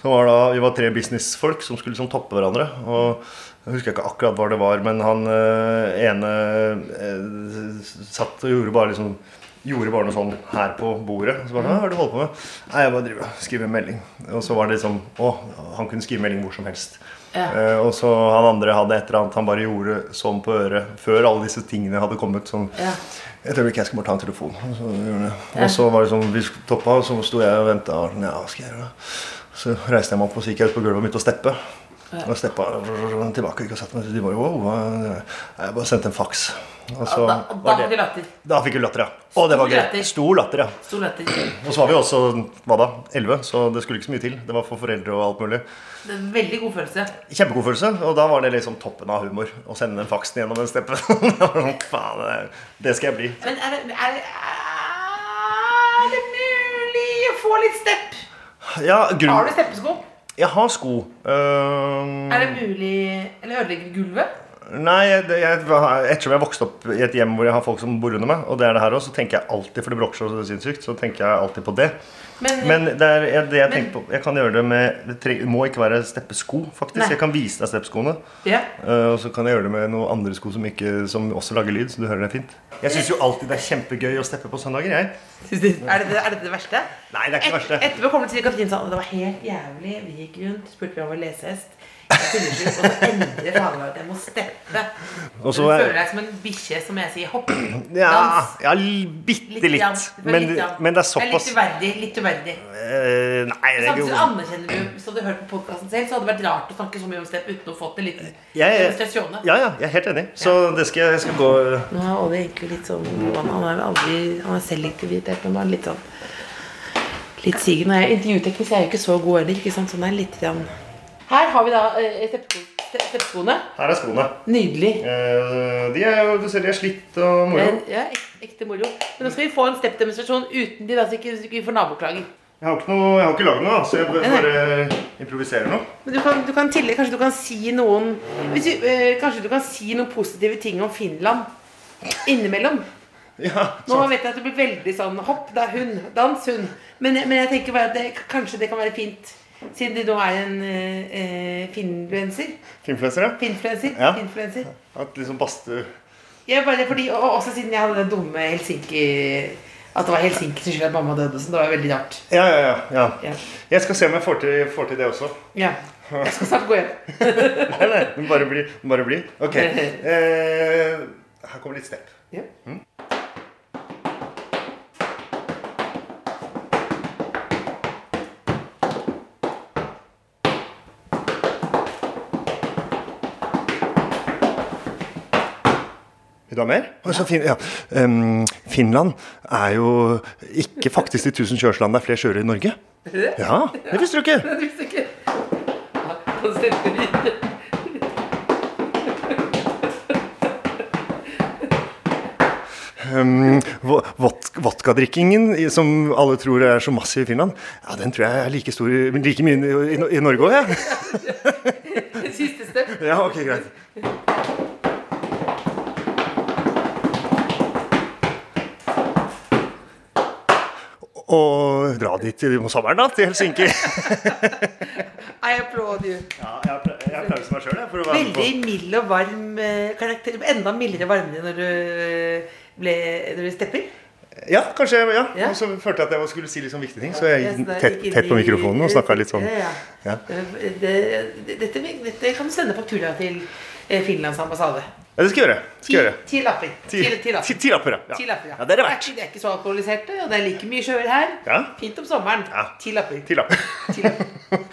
[SPEAKER 4] Som var da, vi var tre businessfolk som skulle liksom toppe hverandre. Og jeg husker ikke akkurat hva det var, men han øh, ene øh, satt og gjorde bare liksom Gjorde bare noe sånn her på bordet. Så bare, Hva er det du holder på med? Nei, jeg bare driver og skriver en melding. Og så var det liksom Å, han kunne skrive melding hvor som helst. Eh, og så han andre hadde et eller annet han bare gjorde sånn på øret før alle disse tingene hadde kommet. Sånn Et øyeblikk, jeg skal bare ta en telefon. Og så, gjorde han det. og så var det sånn Vi toppa, og så sto jeg og venta. Ja, hva skal jeg gjøre? da?» Så reiste jeg meg opp og så gikk jeg ut på gulvet og begynte å steppe. Og steppa tilbake. Ikke og satt meg. De bare wow. hva- Jeg bare sendte en faks. Og så
[SPEAKER 6] Da, da
[SPEAKER 4] var det
[SPEAKER 6] fikk vi latter.
[SPEAKER 4] da fikk vi latter, ja. Og det var
[SPEAKER 6] Stor
[SPEAKER 4] gøy.
[SPEAKER 6] latter.
[SPEAKER 4] Stor latter, ja.
[SPEAKER 6] Stor latter.
[SPEAKER 4] Og så var vi også hva da, 11, så det skulle ikke så mye til. Det var for foreldre og alt mulig.
[SPEAKER 6] Det er en veldig god følelse.
[SPEAKER 4] Kjempegod følelse, og da var det liksom toppen av humor. Å sende den faksen gjennom en steppe. Det var sånn, Faen, det- det skal jeg bli.
[SPEAKER 6] Men er det, er det, er det mulig å få litt stepp?
[SPEAKER 4] Ja,
[SPEAKER 6] Har
[SPEAKER 4] grunn...
[SPEAKER 6] du steppesko?
[SPEAKER 4] Jeg har sko.
[SPEAKER 6] Er
[SPEAKER 4] Øhm,
[SPEAKER 6] det mulig Eller ødelegger gulvet?
[SPEAKER 4] Nei, jeg, jeg, ettersom jeg vokste opp i et hjem hvor jeg har folk som bor under meg, og det er det her også, så tenker jeg alltid, for det bråker så sinnssykt, så tenker jeg alltid på det.
[SPEAKER 6] Men,
[SPEAKER 4] Men det er jeg, det jeg tenker på Jeg kan gjøre det med Det tre- må ikke være steppesko, faktisk.
[SPEAKER 6] Nei.
[SPEAKER 4] Jeg kan vise deg steppeskoene.
[SPEAKER 6] ja.
[SPEAKER 4] Eh, Og så kan jeg gjøre det med noen andre sko som, ikke, som også lager lyd, så du hører det fint. Jeg syns jo alltid det er kjempegøy å steppe på søndager, jeg.
[SPEAKER 6] er, det, er dette det verste?
[SPEAKER 4] Nei, det er ikke det
[SPEAKER 6] Et,
[SPEAKER 4] verste.
[SPEAKER 6] etterpå kommer det til Katrine og sa det var helt jævlig. Vi gikk rundt, spurte vi om å lese hest. hundeskyss, og så endrer faen meg at jeg må steppe.
[SPEAKER 4] Og
[SPEAKER 6] Du
[SPEAKER 4] så er-
[SPEAKER 6] føler deg som en bikkje som jeg sier hopp.
[SPEAKER 4] Ja,
[SPEAKER 6] Dans.
[SPEAKER 4] ja bitte
[SPEAKER 6] Litt. grann.
[SPEAKER 4] litt.
[SPEAKER 6] Du føler
[SPEAKER 4] Men,
[SPEAKER 6] litt grann.
[SPEAKER 4] men det er
[SPEAKER 6] litt
[SPEAKER 4] såpass
[SPEAKER 6] uverdig. Litt uverdig.
[SPEAKER 4] eh, Nei, det er
[SPEAKER 6] Samtidig
[SPEAKER 4] ikke
[SPEAKER 6] anerkjenner du, hvis du hadde hørt på podcasten selv, så hadde det vært rart å snakke så mye om stepp uten å få til en liten
[SPEAKER 4] Jeg-
[SPEAKER 6] demonstrasjon.
[SPEAKER 4] Ja, ja, jeg er helt enig. Så det skal jeg, jeg skal gå
[SPEAKER 6] Nå er Olli egentlig litt sånn Han han er aldri Han er selektivitert, men han er litt sånn Litt sigende. Jeg- Intervjuteknisk er jeg jo ikke så god heller, ikke sant. Sånn er litt grann. Her har vi da eh, steppsko- ste- steppeskoene.
[SPEAKER 4] Her er skoene.
[SPEAKER 6] Nydelig.
[SPEAKER 4] Eh, de er jo du ser de er slitt og moro.
[SPEAKER 6] Eh, Ja, ek- ekte moro. Men nå skal vi få en steppdemonstrasjon uten de, da, så ikke, så ikke vi får naboklager.
[SPEAKER 4] Jeg har ikke, noe- jeg har ikke lagd noe, da, så jeg
[SPEAKER 6] Eh.
[SPEAKER 4] bare improviserer noe.
[SPEAKER 6] Men du kan, du kan tillegge, kanskje du kan si noen hvis du, eh, Kanskje du kan si noen positive ting om Finland innimellom.
[SPEAKER 4] Ja,
[SPEAKER 6] Nå
[SPEAKER 4] så,
[SPEAKER 6] vet jeg at det blir veldig sånn hopp, det er hun, dans, hun. Men, men jeg tenker bare at det, kanskje det kan være fint, siden du nå er en eh, eh, finfluenser.
[SPEAKER 4] Influensere.
[SPEAKER 6] Finfluenser.
[SPEAKER 4] Ja.
[SPEAKER 6] finfluenser.
[SPEAKER 4] At liksom bastu...
[SPEAKER 6] Jeg bare fordi, og og også siden jeg hadde den dumme Helsinki At det var Helsinki sin skyld at mamma døde. og sånn, det var jo veldig rart.
[SPEAKER 4] Ja, ja, ja, ja.
[SPEAKER 6] Ja.
[SPEAKER 4] Jeg skal se om jeg får til, får til det også.
[SPEAKER 6] ja. Jeg skal snart gå hjem.
[SPEAKER 4] Nei, nei, bare bli. Bare bli. Ok. Eh, her kommer litt step.
[SPEAKER 6] Ja.
[SPEAKER 4] Vil du ha mer? Å, så fin, ja. Ehm, Finland er jo ikke faktisk de tusen kjørsland det er flere kjørere i Norge. Ja, det visste du ikke.
[SPEAKER 6] Hvis ikke Han stemmer ikke.
[SPEAKER 4] Ehm, vo- vod- Vodkadrikkingen i- som alle tror er så massiv i Finland, ja, den tror jeg er like stor i- men like mye i, i, Nor- i Norge òg, jeg.
[SPEAKER 6] Siste step.
[SPEAKER 4] Ja. ja, ok, greit. Og dra dit i sommeren, da, til Helsinki.
[SPEAKER 6] I applaud you.
[SPEAKER 4] Ja, jeg appla- jeg applauderer meg sjøl, jeg. For å være med på.
[SPEAKER 6] Veldig mild og varm eh, karakter. Enda mildere og varmere når du, eh, ble, når du stepper.
[SPEAKER 4] Ja, kanskje. jeg- Ja.
[SPEAKER 6] Ja.
[SPEAKER 4] Og så følte jeg at jeg skulle si litt sånn viktige ting, så jeg
[SPEAKER 6] Ja, så
[SPEAKER 4] gikk
[SPEAKER 6] da
[SPEAKER 4] tett,
[SPEAKER 6] gikk inn
[SPEAKER 4] tett på
[SPEAKER 6] i-
[SPEAKER 4] mikrofonen og snakka litt sånn.
[SPEAKER 6] Ja, ja.
[SPEAKER 4] Ja.
[SPEAKER 6] Det, det, dette, dette kan du sende faktura til eh, Finlands ambassade.
[SPEAKER 4] Ja, det skal jeg gjøre. det Skal
[SPEAKER 6] Ti,
[SPEAKER 4] jeg gjøre.
[SPEAKER 6] ti lapper. Ti, ti, lapper.
[SPEAKER 4] Ti- ti lapper, ja.
[SPEAKER 6] Ti
[SPEAKER 4] ja.
[SPEAKER 6] lapper,
[SPEAKER 4] Ja, det er det verdt.
[SPEAKER 6] ikke- Det er ikke så alkoholiserte, og det er like mye sjøer her.
[SPEAKER 4] Ja.
[SPEAKER 6] Fint om sommeren.
[SPEAKER 4] Ja.
[SPEAKER 6] Ti lapper.
[SPEAKER 4] Ti lapper.
[SPEAKER 6] Ti lapper.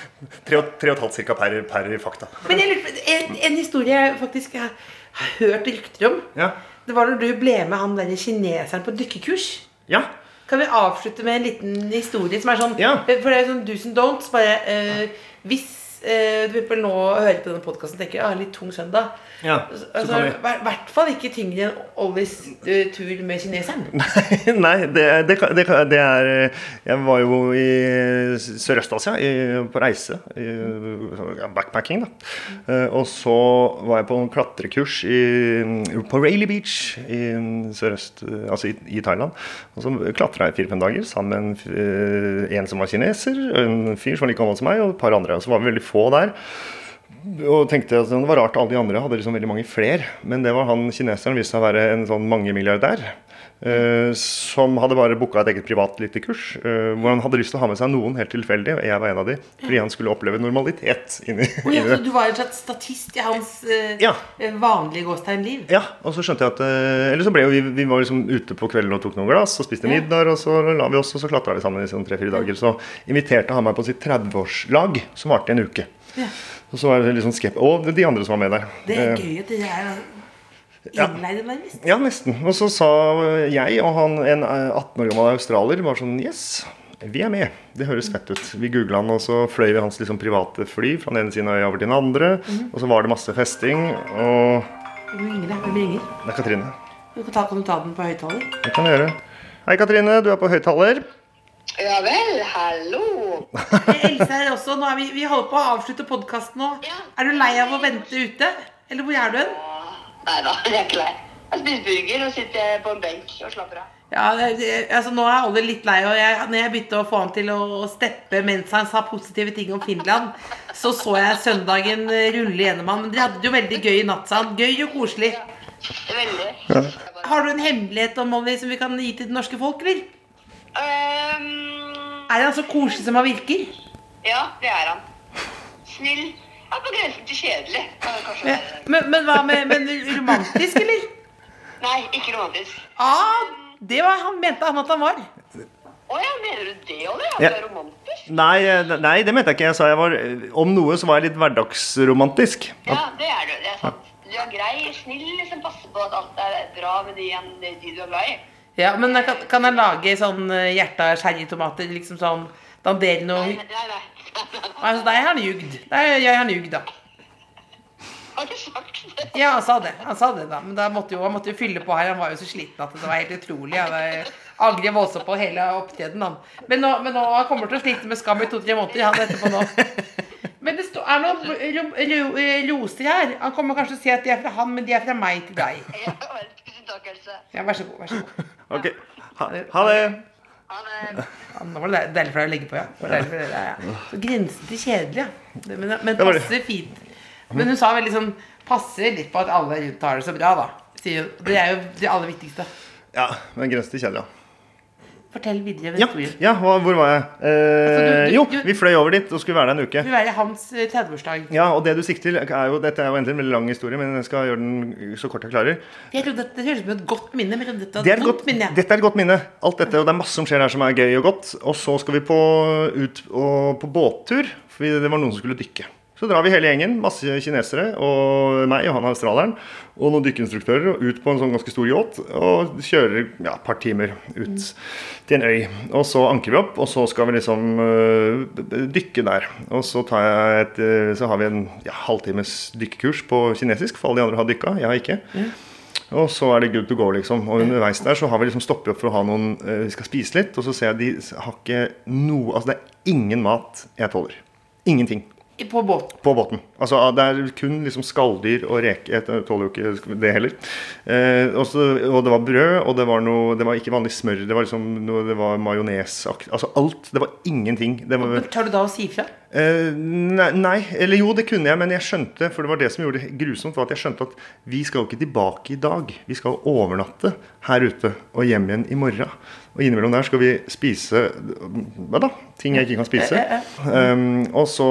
[SPEAKER 4] Tre og, tre og et halvt cirka per, per fakta.
[SPEAKER 6] Men jeg lurer på, en, en historie jeg faktisk har, har hørt rykter om.
[SPEAKER 4] Ja.
[SPEAKER 6] Det var når du ble med han der kineseren på dykkekurs.
[SPEAKER 4] Ja.
[SPEAKER 6] Kan vi avslutte med en liten historie som er sånn
[SPEAKER 4] Ja.
[SPEAKER 6] For det er sånn do's and don'ts. Bare eh, hvis eh, du vil nå hører på denne podkasten og tenker ah, litt tung søndag
[SPEAKER 4] ja.
[SPEAKER 6] altså,
[SPEAKER 4] Så kan vi
[SPEAKER 6] I hvert fall ikke tyngre enn Ollis eh, tur med kineseren.
[SPEAKER 4] Nei, det, det, kan- det, kan- det er eh, Jeg var jo i Sørøst-Asia i- på reise. i- ja, Backpacking, da. Eh, Og så var jeg på en klatrekurs i, på Rayleigh Beach i Sørøst, altså i, i Thailand. Og så klatra jeg fire-fem dager sammen med en, f- eh, en som var kineser, og en fyr som var like gammel som meg, og et par andre. Og så var vi veldig få der og tenkte at det var rart alle de andre hadde liksom veldig mange fler, men det var han kineseren viste seg å være en sånn mangemilliardær. Uh, som hadde bare booka et eget privat lite kurs. eh, hvor han hadde lyst til å ha med seg noen helt tilfeldig, og jeg var en av de. Fordi han skulle oppleve normalitet inni, inni det.
[SPEAKER 6] altså, du var en slags statist i hans eh,
[SPEAKER 4] Ja.
[SPEAKER 6] vanlige gåstegnliv.
[SPEAKER 4] Ja, og så skjønte jeg at eh, Eller så ble jo vi, vi var liksom ute på kvelden og tok noen glass og spiste middag, og så la vi oss, og så klatra vi sammen i sånn tre-fire dager. Så inviterte han meg på sitt 30-årslag, som varte i en uke. Og så var det liksom skep... Og de andre som var med der.
[SPEAKER 6] Det er
[SPEAKER 4] Eh,
[SPEAKER 6] gøy at dere er
[SPEAKER 4] Ja.
[SPEAKER 6] innleide, nærmest.
[SPEAKER 4] Ja, nesten. Og så sa jeg og han, en eh, 18 år gammel australier, var sånn Yes, vi er med. Det høres fett ut. Vi googla han, og så fløy vi hans liksom, private fly fra den ene siden av øya over til den andre.
[SPEAKER 6] Mhm.
[SPEAKER 4] Og så var det masse festing, og
[SPEAKER 6] Hvem ringer det? Hvem ringer?
[SPEAKER 4] Det er Katrine.
[SPEAKER 6] Du kan, ta, kan du ta den på høyttaler?
[SPEAKER 4] Det kan jeg gjøre. Hei, Katrine. Du er på høyttaler.
[SPEAKER 9] Ja vel, hallo.
[SPEAKER 6] Else er også, nå er vi, vi holder på å avslutte podkasten nå.
[SPEAKER 9] Ja.
[SPEAKER 6] Er du lei av å vente ute? Eller hvor er du hen?
[SPEAKER 9] Nei da, jeg er ikke lei. Jeg spiser burger og sitter på en benk og slapper av.
[SPEAKER 6] Ja, det- det- altså Nå er Olli litt lei, og jeg, når jeg begynte å få han til å å steppe mens han sa positive ting om Finland, så så jeg søndagen eh, rulle gjennom han. Men dere hadde det jo veldig gøy i natt, sa han. Gøy og koselig.
[SPEAKER 9] Veldig. Jeg bare-
[SPEAKER 6] Har du en hemmelighet om Olli som vi kan gi til det norske folk, eller?
[SPEAKER 9] Øhm, Ehm,
[SPEAKER 6] Er han så koselig som han virker?
[SPEAKER 9] ja, det er han. Snill, Ja, på grensen til kjedelig. kan det kanskje være.
[SPEAKER 6] Men, men hva med men romantisk, eller?
[SPEAKER 9] Nei, ikke romantisk.
[SPEAKER 6] Ah, det var han mente han at han var.
[SPEAKER 9] Å ja, mener du det, Olli? At
[SPEAKER 4] Ja.
[SPEAKER 9] du er romantisk?
[SPEAKER 4] Nei, eh, nei, det mente jeg ikke. Jeg sa jeg var Om noe så var jeg litt hverdagsromantisk.
[SPEAKER 9] Ja, det er du. Det er sant. Du er grei, snill, liksom passer på at alt er bra med de, de du er glad i.
[SPEAKER 6] Ja, men jeg kan, kan jeg lage sånn eh, hjerte av cherrytomater? Liksom sånn Dandere noe
[SPEAKER 9] Nei,
[SPEAKER 6] Nei,
[SPEAKER 9] nei, nei.
[SPEAKER 6] altså, nei, han ljugd. Nei, jeg har ljugd, da.
[SPEAKER 9] Har du sagt det?
[SPEAKER 6] Ja, han sa det. Han sa det da. Men da måtte jo, han måtte jo fylle på her. Han var jo så sliten at det var helt utrolig. Han eh, angrer voldsomt på hele opptredenen, han. Men nå, men nå han kommer til å slite med skam i to-tre måneder, han etterpå nå. Men det sto- er noen ro- ro- eh, roser her. Han kommer kanskje til å si at de er fra han, men de er fra meg til deg.
[SPEAKER 9] Ja, bare tusen takk, Else.
[SPEAKER 6] Ja, vær så god. vær så god.
[SPEAKER 4] Ok, ha, ha det.
[SPEAKER 9] Ha det.
[SPEAKER 6] Ja, Nå var det deil- deilig for deg å legge på, ja. Det var deilig for dere, ja. Så grensen til kjedelig, ja. Det- Men, men
[SPEAKER 4] Det var det.
[SPEAKER 6] passer fint. Men hun sa veldig sånn Passer litt på at alle rundt har det så bra, da. Sier hun. Det er jo det aller viktigste.
[SPEAKER 4] Ja, men grense til kjedelig, ja.
[SPEAKER 6] Fortell videre ved
[SPEAKER 4] Ja,
[SPEAKER 6] historien.
[SPEAKER 4] ja hva, hvor var jeg? Eh,
[SPEAKER 6] Altså, du- du-
[SPEAKER 4] jo,
[SPEAKER 6] du-
[SPEAKER 4] vi fløy over dit og skulle være der en uke.
[SPEAKER 6] Det vil være hans eh, 30-årsdag.
[SPEAKER 4] Ja, og det du sikter til, er jo, dette er jo egentlig en veldig lang historie, men jeg skal gjøre den så kort jeg klarer.
[SPEAKER 6] Jeg trodde at Det høres ut som et godt minne. Men jeg trodde dette var
[SPEAKER 4] Det er
[SPEAKER 6] et
[SPEAKER 4] et
[SPEAKER 6] vondt
[SPEAKER 4] godt,
[SPEAKER 6] minne.
[SPEAKER 4] dette er et godt minne. Alt dette, og det er masse som skjer her som er gøy og godt. Og så skal vi på, ut og, på båttur, for det var noen som skulle dykke. Så drar vi hele gjengen, masse kinesere og meg og han australieren og noen dykkeinstruktører og ut på en sånn ganske stor yacht og kjører ja, et par timer ut til en øy. Og så anker vi opp, og så skal vi liksom øh, b- b- dykke der. Og så, tar jeg et, øh, så har vi en ja, halvtimes dykkekurs på kinesisk, for alle de andre har dykka, jeg har ikke. Og så er det good to go, liksom. Og underveis der så har vi liksom stoppet opp for å ha noen eh, Vi skal spise litt, og så ser jeg de har ikke noe Altså det er ingen mat jeg tåler. Ingenting
[SPEAKER 6] På båt.
[SPEAKER 4] på båten. Altså, det er kun liksom skalldyr og reke. Jeg tåler jo ikke det heller. Eh, og så- og det var brød, og det var, noe, det var ikke vanlig smør. Det var liksom noe, det var majonesaktig Altså alt. Det var ingenting. Det var,
[SPEAKER 6] Men Tør du da å si ifra?
[SPEAKER 4] Eh, nei, nei, eller jo, det kunne jeg, men jeg skjønte For det var det som gjorde det grusomt, var at jeg skjønte at vi skal jo ikke tilbake i dag. Vi skal jo overnatte her ute og hjem igjen i morgen. Og innimellom der skal vi spise hva da? Ting jeg ikke kan spise. Um, og så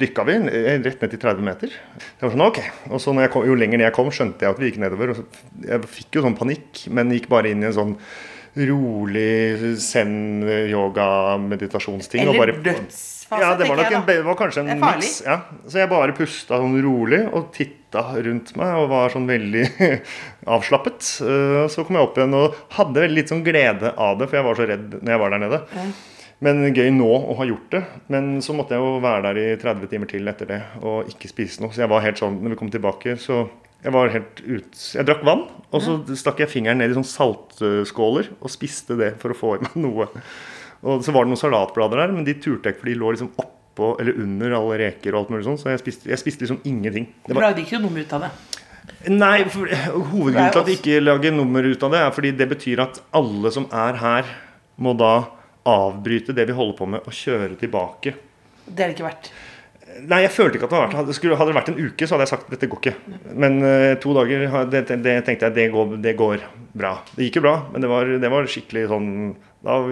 [SPEAKER 4] dykka vi eh, rett ned til 30 meter. Det var sånn, ok. Og så når jeg kom, jo lenger ned jeg kom, skjønte jeg at vi gikk nedover. Og så, jeg fikk jo sånn panikk, men gikk bare inn i en sånn rolig zen-yoga-meditasjonsting. og
[SPEAKER 6] Eller
[SPEAKER 4] bare-
[SPEAKER 6] dødsfase,
[SPEAKER 4] ja, det var, nok en,
[SPEAKER 6] tenker jeg. da
[SPEAKER 4] det var kanskje en
[SPEAKER 6] Det er farlig.
[SPEAKER 4] miks. Ja. Så jeg bare pusta sånn rolig og titta rundt meg og var sånn veldig avslappet. Eh, Så kom jeg opp igjen og hadde veldig litt sånn glede av det, for jeg var så redd når jeg var der nede. Men gøy nå å ha gjort det. Men så måtte jeg jo være der i 30 timer til etter det og ikke spise noe. Så jeg var helt sånn når vi kom tilbake, så jeg var helt ut... Jeg drakk vann, og så stakk jeg fingeren ned i sånn saltskåler og spiste det for å få i meg noe. Og så var det noen salatblader der, men de turte jeg ikke, for de lå liksom oppå eller under alle reker og alt mulig sånn, så jeg spiste, jeg spiste liksom ingenting. Det
[SPEAKER 6] Du
[SPEAKER 4] var,
[SPEAKER 6] lagde ikke noe nummer ut av det.
[SPEAKER 4] nei, for, hovedgrunnen til at de ikke lager nummer ut av det, er fordi det betyr at alle som er her, må da avbryte det vi holder på med, og kjøre tilbake.
[SPEAKER 6] Det er det ikke verdt.
[SPEAKER 4] Nei, jeg følte ikke at det hadde vært hadde- skulle, Hadde det vært en uke, så hadde jeg sagt dette går ikke. Men eh, to dager, har- det, det det tenkte jeg, det går, det går bra. Det gikk jo bra, men det var, det var skikkelig sånn da var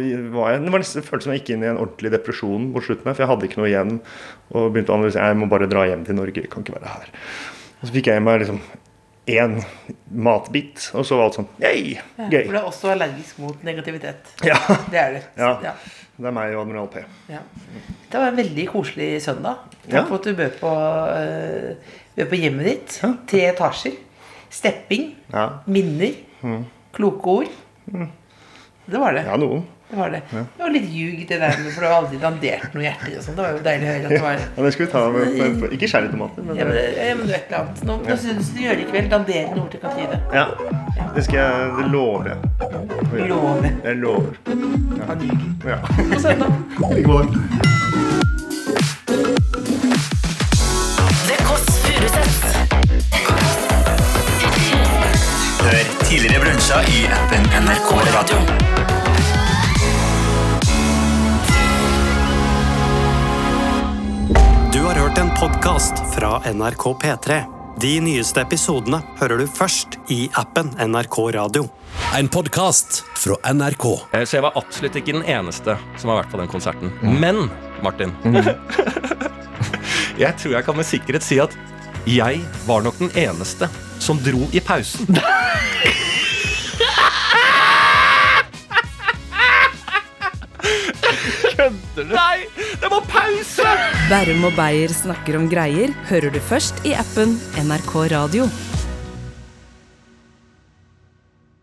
[SPEAKER 4] jeg, Det var nesten det føltes som jeg gikk inn i en ordentlig depresjon mot slutten her, for jeg hadde ikke noe igjen. Og begynte å analysere jeg må bare dra hjem til Norge, jeg kan ikke være her. Og så fikk jeg i meg liksom én matbit, og så var alt sånn Yay!
[SPEAKER 6] For
[SPEAKER 4] Gøy.
[SPEAKER 6] du er også allergisk mot negativitet.
[SPEAKER 4] Ja.
[SPEAKER 6] Det er du.
[SPEAKER 4] Ja.
[SPEAKER 6] Ja.
[SPEAKER 4] Det er meg og Admiral P.
[SPEAKER 6] Ja. Det var en veldig koselig søndag. Takk
[SPEAKER 4] Ja.
[SPEAKER 6] for at du bød på, øh, bød på hjemmet ditt.
[SPEAKER 4] Ja.
[SPEAKER 6] Tre etasjer. Stepping.
[SPEAKER 4] Ja. Mm.
[SPEAKER 6] Minner. Kloke ord. Det var det.
[SPEAKER 4] ja, noen.
[SPEAKER 6] Det var det. Det var litt ljug, det der med for du har aldri dandert noe hjerte og sånn. Det var jo deilig å høre at det var
[SPEAKER 4] Ja, det skal vi ta med, med, med Ikke cherrytomater, men
[SPEAKER 6] ja, men, ja, men du vet noe annet. Nå, nå synes du gjør det i kveld. Dandere noe til Katrine.
[SPEAKER 4] Ja, det skal jeg det lover jeg.
[SPEAKER 6] Love.
[SPEAKER 4] Jeg lover.
[SPEAKER 6] Han ljuger.
[SPEAKER 4] Ja.
[SPEAKER 6] På søndag.
[SPEAKER 4] Ikke på det.
[SPEAKER 2] Det Kåss Furuseths.
[SPEAKER 10] Hør tidligere brunsja i appen NRK Radio.
[SPEAKER 1] Du har hørt en podkast fra NRK P3. De nyeste episodene hører du først i appen NRK Radio.
[SPEAKER 11] En podkast fra NRK.
[SPEAKER 12] Eh, Så jeg var absolutt Mm. ikke den eneste som har vært på den konserten. Men, Martin Mm. Jeg tror jeg kan med sikkerhet si at jeg var nok den eneste som dro i pausen.
[SPEAKER 13] Kødder du? Nei, det må pause!
[SPEAKER 9] Bærum og Beyer snakker om greier hører du først i appen NRK Radio.